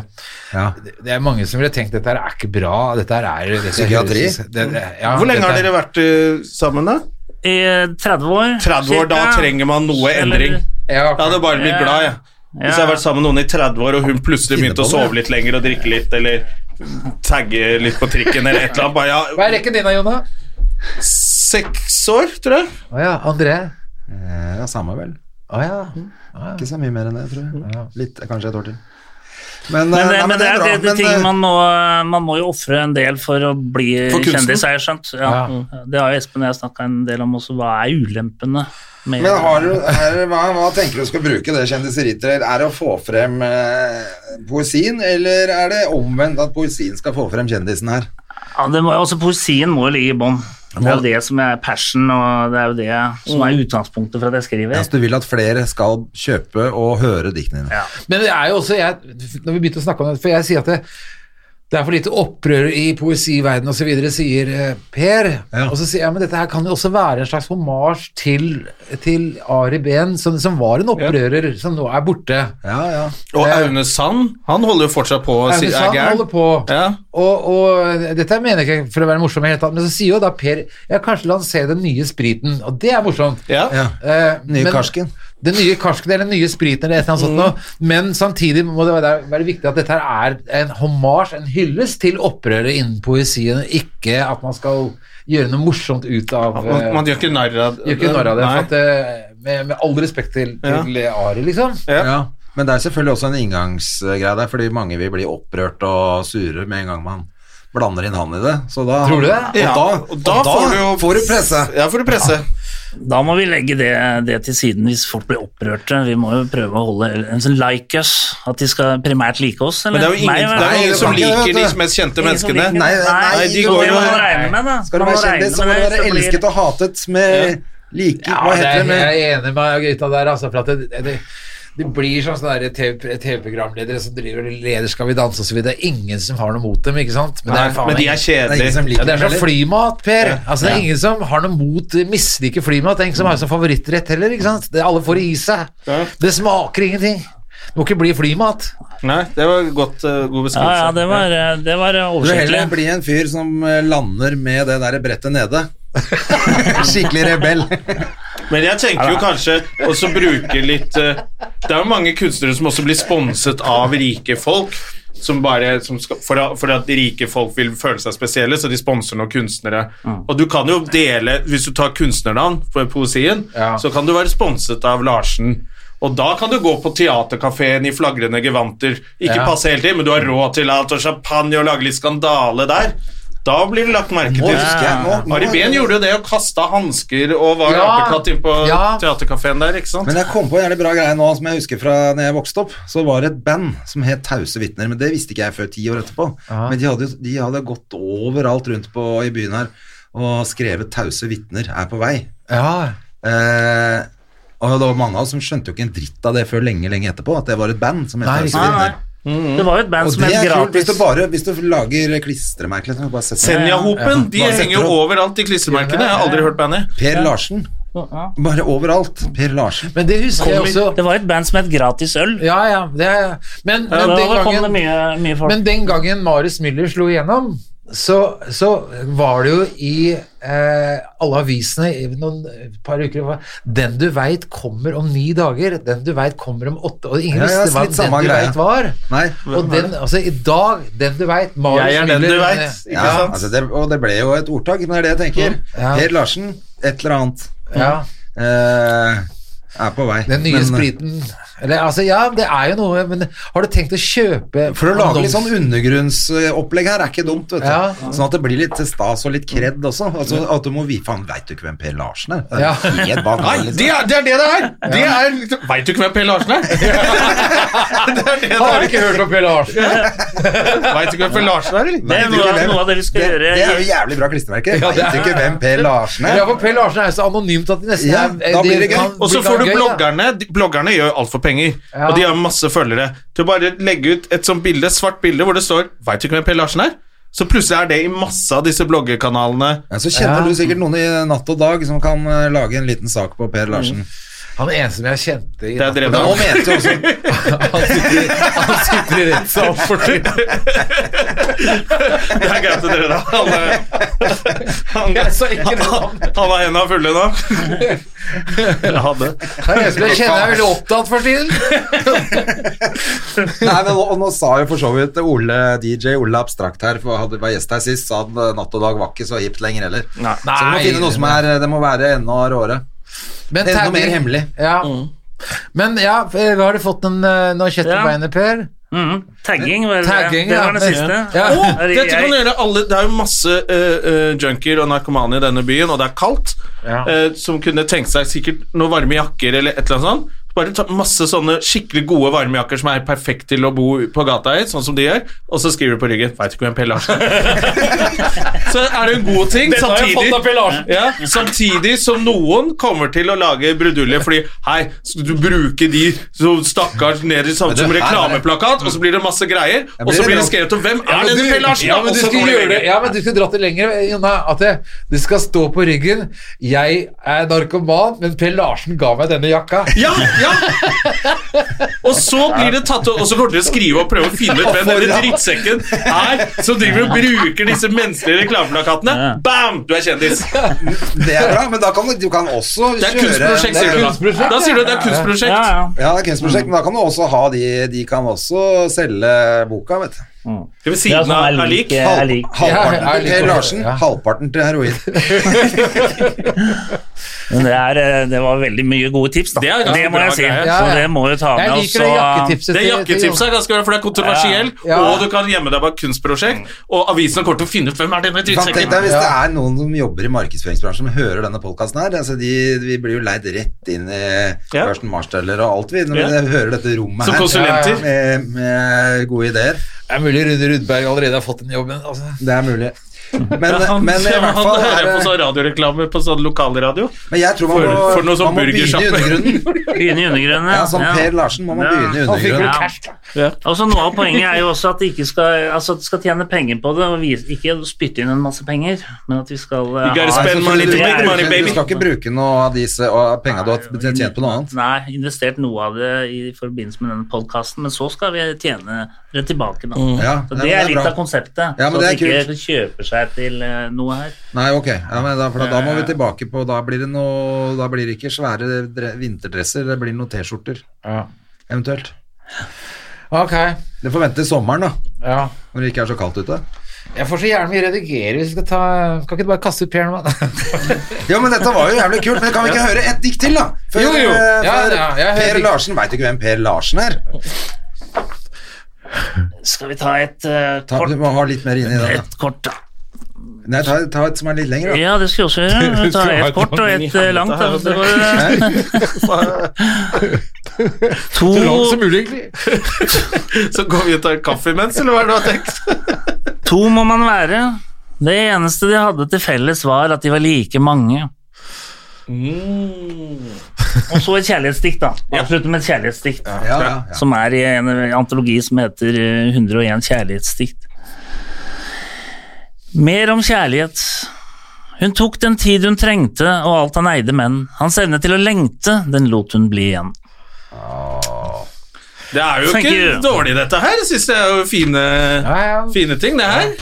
Ja.
det, det er mange som ville tenkt dette her er ikke bra, dette her er dette
Psykiatri?
høres- Det, det, ja,
Hvor lenge har
dette-
dere vært eh, sammen, da?
I 30 år.
30 år, da
cirka.
trenger man noe endring.
ja,
Jeg hadde bare blitt
Ja.
glad, jeg. Hvis jeg hadde vært sammen med noen i 30 år, og hun plutselig
Finne
begynte å
på det.
sove litt lenger og drikke litt, eller tagge litt på trikken, eller et eller annet. Bare,
Hva er rekken din da, Jonna?
ja, seks år, tror jeg.
Å ja, André.
Eh, Ja, samme vel. Mm.
Å ja.
Ikke så mye mer enn det, tror jeg. Litt, kanskje et år til. Men,
Men,
eh,
det-
nei,
men det er, det, det
men, eh,
ting man må, man må jo ofre en del for å bli
For kunsten?
kjendis, har jeg skjønt. Ja. Det har jo Espen og jeg snakka en del om også. Hva er ulempene
eh,
med
Men har du, er, hva, hva tenker du skal bruke det kjendiseriet til? Er det å få frem eh, poesien, eller er det omvendt at poesien skal få frem kjendisen her?
ja, det må, Også altså, poesien må jo ligge i bånn. Det er jo det som er passion, og det er jo det som er utgangspunktet for at jeg skriver.
Ja, så Altså, du vil at flere skal kjøpe og høre diktene dine.
Men det er jo også jeg, Når vi begynte å snakke om det For jeg sier at det, det er for lite opprør i poesiverden osv., sier eh, Per.
Ja.
Og så sier jeg men dette her kan jo også være en slags hommage til, til Ari Behn, som, som var en opprører, som nå er borte.
Ja, ja.
Og Aune Sand, han holder jo fortsatt på å si er
Aune Sand holder
gæren.
på.
Ja.
Og, og dette mener jeg ikke for å være morsom, i det hele tatt, men så sier jo da Per Ja, kanskje lansere den nye spriten, og det er morsomt.
Ja.
ja.
Eh,
Nye karsken.
Den nye karsken eller den nye spriten eller et eller annet sånt noe. Men samtidig må det være, være viktig at dette her er en hommage, en hyllest til opprøret innen poesien, og ikke at man skal gjøre noe morsomt ut av
Man,
eh,
man gjør ikke narr av
Gjør ikke narr av det.
Nei.
For at, eh, med, med all respekt til, til Ari, liksom.
Ja.
Ja. Men det er selvfølgelig også en inngangsgreie der, fordi mange vil bli opprørt og sure med en gang man blander inn han i det. Så da,
Tror du det?
Ja,
Og da,
og da får du jo
får du presse.
Ja, får du presse.
Da må vi legge det, det til siden hvis folk blir opprørte. Vi må jo prøve å holde en sånn like us, at de skal primært like oss.
Men det
Eller?
er jo ingen,
Nei,
det er jo
nei,
ingen
det
som
kan ikke
liker
det, vet
de
du.
mest kjente
ingen som
menneskene.
liker
Nei,
det.
nei,
de
så
går
det
jo-
må man regne med, da.
Skal du
Man må
være
regne
kjendis, så
med
må du
det,
være
så blir-
elsket og hatet med like
Ja,
Hva
det
heter
er,
det med
jeg er enig med gutta der, altså, for at det, det, det blir sånn sånne der TV TV-programledere som driver og leder Skal vi danse osv. Det er ingen som har noe mot dem, ikke sant? Men,
Nei,
Det
men de er
er ingen
kjedelige.
som
ja,
liker
det er
dem
som
heller.
flymat, Per. Altså, det er ingen som har noe mot misliker flymat. Det er ingen som har det som favorittrett heller. Ikke sant? Det alle får det i seg.
Ja.
Det smaker ingenting. Det må ikke bli flymat.
Nei, det var godt, eh, god
Ja,
beskrivelse.
ja, det var, eh, det var
Du vil heller
oversiktlig.
bli en fyr som eh, lander med det der brettet nede. Skikkelig rebell.
Men jeg tenker jo kanskje også bruke litt eh, Det er jo mange kunstnere som også blir sponset av rike folk. Som bare, som skal, for, at, for at rike folk vil føle seg spesielle, så de sponser noen kunstnere.
Mm.
Og du kan jo dele Hvis du tar kunstnernavn for poesien,
Ja.
så kan du være sponset av Larsen. Og da kan du gå på teaterkafeen i flagrende gevanter. Ikke
Ja.
passe hele tiden, men du har råd til alt og champagne og lage litt skandale der. Da blir det lagt merke
Nå
til.
husker jeg nå, nå,
Ari Behn gjorde jo det og kasta hansker og var
Ja.
apekatt inn på
Ja.
teaterkafeen der, ikke sant?
Men jeg kom på en jævlig bra greie nå som jeg husker fra når jeg vokste opp. Så var det et band som het Tause vitner, men det visste ikke jeg før ti år etterpå. Men de hadde, jo- de hadde gått overalt rundt på, i byen her og skrevet 'Tause vitner er på vei'.
Ja,
Eh, og det var mange av oss som skjønte jo ikke en dritt av det før lenge, lenge etterpå, at det var et band som het
Nei,
Tause
ikke sant.
vitner.
Det var jo et band
Og
som
det
het
er kult hvis
Gratis.
du bare hvis du lager klistremerker. liksom, bare setter-
Senjahopen, de
Bare setter
henger jo
opp.
overalt i klistremerkene. Jeg har aldri hørt bandet.
Per Larsen. Bare overalt. Per Larsen.
men det husker jeg også.
Det var et band som het Gratis øl.
Ja, ja, det er, men, men
Ja, da
den
kom det
gangen
mye, mye folk.
Men den gangen Marius Müller slo igjennom, så, så var det jo i eh, alle avisene i noen et par uker det var, Den du veit kommer om ni dager, den du veit kommer om åtte Og ingen
Ja, ja,
visste hva
litt samme
den du
greie.
veit var.
Nei.
Og den, altså i dag, den du veit
Jeg er den du vet, ikke
Ja,
sant?
altså det, og det ble jo et ordtak, men det er det jeg tenker.
Ja.
Per Larsen, et eller annet.
Ja,
Eh, er på vei.
den nye
Men, eh,
spriten Eller altså, ja, det er jo noe, men har du tenkt å kjøpe
For å lage litt sånn
annons-
undergrunnsopplegg her er ikke dumt, vet du.
Ja.
Sånn at det blir litt stas og litt kred også. Altså, at du må vi Faen, veit du ikke hvem Per Larsen er? Det er
Ja.
helt banalt,
Nei,
liksom.
det er det er det det er! Det er Veit du ikke hvem Per Larsen er? Det er det det
Har du
er.
ikke hørt om Per Larsen?
Vet du ikke hvem Per Larsen er, eller?
det
Vet
er
du
noe,
ikke hvem?
noe av det vi skal
det,
gjøre.
det er jo jævlig bra klistremerke.
Ja, det
Veit
er-
du ikke hvem Per Larsen er?
Ja, for Per Larsen er så anonymt at det nesten
Ja,
er
da blir det gøy.
kan
Og så
bli
får du
gøy, da.
bloggerne. de- Bloggerne gjør alt for penger,
Ja.
og de har masse følgere. Til å bare legge ut et sånt bilde, svart bilde hvor det står 'Veit du ikke hvem Per Larsen er?' Så plutselig er det i masse av disse bloggekanalene.
Ja, så kjenner
Ja.
du sikkert noen i natt og dag som kan eh, lage en liten sak på Per Larsen.
Han eneste som jeg kjente i
Det er drevet
Men
av
nå mente jeg også
Han sitter, i- han sitter i rettssal for tiden.
Det er greit å dere, da. Han, er- han, han, han, han er henda fulle nå. Ja, det.
Det er en som jeg kjenner er veldig opptatt for tiden.
Nei, men og nå sa jo for så vidt Ole DJ Ole Abstrakt her, for han var gjest her sist, sa han eh, natt og dag var ikke så hipt lenger heller. Så vi må finne noe som er eh, Det må være enda råere.
Men
Enda
tagging-
mer hemmelig.
Ja.
Mm.
Men ja, eh, har du fått en, eh, noen kjøtt på
Ja.
beinet, Per?
Mhm. Tagging, var det,
Tagging,
det
ja.
var det siste.
Ja.
Å, dette kan
jeg,
gjøre alle Det er jo masse eh, eh, junkier og narkomane i denne byen, og det er kaldt,
Ja.
eh, som kunne tenkt seg sikkert noen varme jakker eller et eller annet sånt. Bare ta masse sånne skikkelig gode varmejakker som er perfekt til å bo på gata i, sånn som de gjør, og så skriver du på ryggen 'Veit ikke hvem Per Larsen er'. så er det en god ting,
Dette har
samtidig,
jeg fått av Per Larsen.
ja, samtidig som noen kommer til å lage brudulje fordi 'Hei, skal du bruke de som stakkars ned i samme som
Men du, her er det-
reklameplakat?' Og så blir det masse greier, og
blir
så blir det
det-
skrevet om 'Hvem
Ja,
er den
men du-
Per Larsen?'
Ja, men du
Og så
skulle
kommer
gjøre det
lenger.
Ja, men du skulle dratt det lenger, eh, Jonna. At det, det skal stå på ryggen 'Jeg er narkoman, men Per Larsen ga meg denne jakka'.
Ja, ja! Og så blir det tatt og og så kommer dere til å skrive og prøve å finne ut hvem denne drittsekken er som driver og bruker disse menneskelige reklameplakatene. Bam! Du er kjendis.
Det er bra, men da kan du, du kan også
Det er
kjøre
kunstprosjekt, sier du da.
kunstprosjekt,
Da sier du at det er
Ja,
kunstprosjekt.
ja.
Ja, det er kunstprosjekt, men da kan du også ha de De kan også selge boka, vet du.
Det ved
Ja,
siden
sånn
av
er
er lik.
lik. Jeg er lik.
halvparten
Ja, jeg er
til
litt
Per
for-
Larsen,
ja.
halvparten til heroin.
Men det, er, eh, det var veldig mye gode tips, da.
Det er ganske
må
bra
jeg si.
greier.
Ja, ja.
Så det må jo ta med
Jeg
oss.
liker det
og-
jakketipset.
Det jakketipset er ganske bra, for det er kontroversielt,
Ja.
og du kan gjemme deg bak kunstprosjekt, og avisen kommer til å finne ut hvem er denne
Kan tenk deg
drittsekken.
Hvis det er noen som jobber i markedsføringsbransjen som hører denne podkasten her altså de, Vi blir jo leid rett inn i
Ja.
Børsen Marsteller og alt, vi, når
Ja.
vi hører dette rommet
Som
her.
konsulenter.
Med, med gode ideer.
Det er mulig Rune Rudberg allerede har fått den jobben. Altså.
Det er mulig. Men,
Han,
men i
han
hvert fall
hører
er
på
det
sånn radioreklame på sånn lokalradio.
Men jeg tror man
for-
må,
for noe
man
sånn
må begynne i
burgersjappe.
undergrunnen.
Begynne i undergrunnen.
Ja, som Per Larsen må man
Ja.
begynne i
Han fikk vel
undergrunnen.
cash, da.
Altså, noe av poenget er jo også at de ikke skal, altså, at de skal tjene penger på det, og vi, ikke spytte inn en masse penger, men at vi skal eh,
You gotta
Nei, så
spend money
du-
to
du-
make money,
du- Du
baby.
skal ikke bruke noe av disse og penga du har tjent på noe annet.
Nei, investert noe av det i forbindelse med denne podkasten, men så skal vi tjene det tilbake, da.
Ja,
Så
nei,
det
men
er litt
bra.
av konseptet.
Ja, men
så
det
at
er
de ikke kjøper seg til eh, noe her.
Nei, ok. Ja, men da, for da, da må vi tilbake på Da blir det, noe, da blir det ikke svære dre vinterdresser, det blir noen T-skjorter
Ja.
eventuelt.
Ok.
Det forventes sommeren, da.
Ja.
Når det ikke er så kaldt ute.
Jeg får så gjerne mye redigere. hvis vi Skal, ta, skal ikke du bare kaste ut Per nå?
Jo, men dette var jo jævlig kult, men kan vi ikke høre et dikt til, da? Før,
Jo, jo.
eh,
Ja,
før
ja, jeg hører
per
dikt.
Larsen Veit du ikke hvem Per Larsen er?
Skal vi ta et eh,
Ta,
kort?
du må ha litt mer inni det. da.
Et kort, da.
Nei, ta, ta et som er litt lengre, da.
Ja, det skal jeg også gjøre. Vi tar et kort og et eh, langt. da. Så det var, eh,
Oh.
to,
mulig, egentlig.
Så går vi og tar kaffe imens, eller hva er det du har tenkt?
to må man være. Det eneste de hadde til felles, var at de var like mange.
Mm.
Og så et kjærlighetsdikt, da. Avslutte med et kjærlighetsdikt.
Ja, ja, ja.
Som er i en antologi som heter eh, 101 kjærlighetsdikt. Mer om kjærlighet. Hun tok den tid hun trengte, og alt han eide, men hans evne til å lengte, den lot hun bli igjen.
Det er jo
Thank
ikke
you.
dårlig dette her. Jeg synes det er jo fine,
Ja, ja.
fine ting, det her.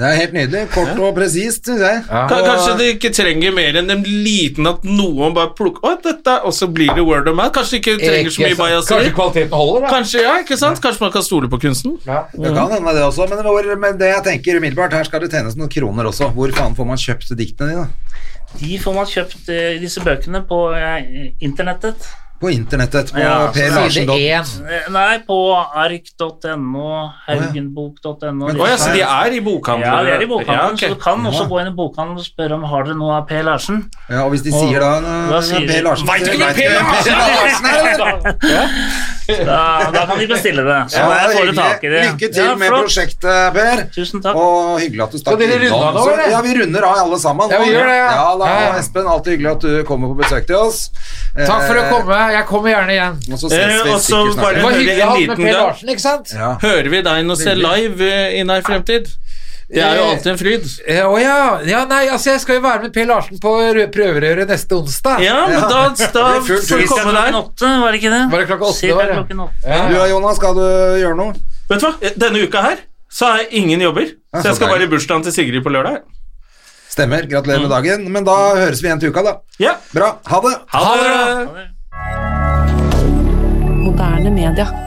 Det er helt nydelig. Kort og presist, syns jeg.
Ja.
Ka- Kanskje det ikke trenger mer enn en liten at noen bare plukker Å, dette, og så blir det word of mouth. Kanskje det ikke trenger så mye
Kanskje
bajaseri.
kvaliteten holder, da.
Kanskje, ja, ikke sant? Kanskje man kan stole på kunsten?
Ja.
Det kan hende, det også. Men, hvor, men det jeg tenker umiddelbart, her skal det tjenes noen kroner også. Hvor faen får man kjøpt diktene dine?
De får man kjøpt, eh, disse bøkene, på eh, internettet.
På internettet. På
Ja,
Per Larsen.
Side én.
Eh, Nei, på ark.no, haugenbok.no
Men-
Å ja, så de er i bokhandelen?
Ja, det er i
Ja,
bokhandelen,
ok.
så du kan også
Ja.
gå inn i bokhandelen og spørre om har dere noe av P. Larsen.
Ja, og hvis de sier da,
Da
eh,
sier de,
Per Larsen
«Vet du ikke hvem
«Vet du
Per
hvem Per Larsen er, eller?»
Da, da kan de bestille det. Så
Ja,
der får du tak i
hyggelig.
det.
Lykke til
Ja,
med
flott.
prosjektet, Per.
Tusen takk.
Og hyggelig at du stakk
Så dere runder av nå,
Så-
eller?
Ja, vi runder av alle sammen.
Ja, vi
nå.
gjør det, ja.
Ja, da,
Ja, ja.
og Espen, alltid hyggelig at du kommer på besøk til oss.
Takk for å
Eh,
komme. Jeg kommer gjerne igjen.
Og så ses vi
Eh, og så
sikkert
bare-
Det
snart.
var
hører
hyggelig
en
å ha med
liten
Per
da.
Hører ikke sant?
Ja.
Hører vi deg nå se live eh, i nær fremtid? Det er jo alltid en fryd.
Eh, Å ja. ja. Nei, altså, jeg skal jo være med Per Larsen på rø- prøverøret neste onsdag.
Ja, men da, da
Det blir fullt
får du
hus.
komme
Klokken
der.
åtte, var det ikke det?
Var det klokka åtte,
Cirka
var det?
klokken åtte.
Ja.
Du og Jonas, skal du gjøre noe?
Vet du hva? Denne uka her så har jeg ingen jobber. Så jeg skal bare i bursdagen til Sigrid på lørdag.
Stemmer. Gratulerer
Mm.
med dagen. Men da høres vi igjen til uka, da.
Ja,
Bra. Ha det.
ha det!
Ha
bra.
Moderne media.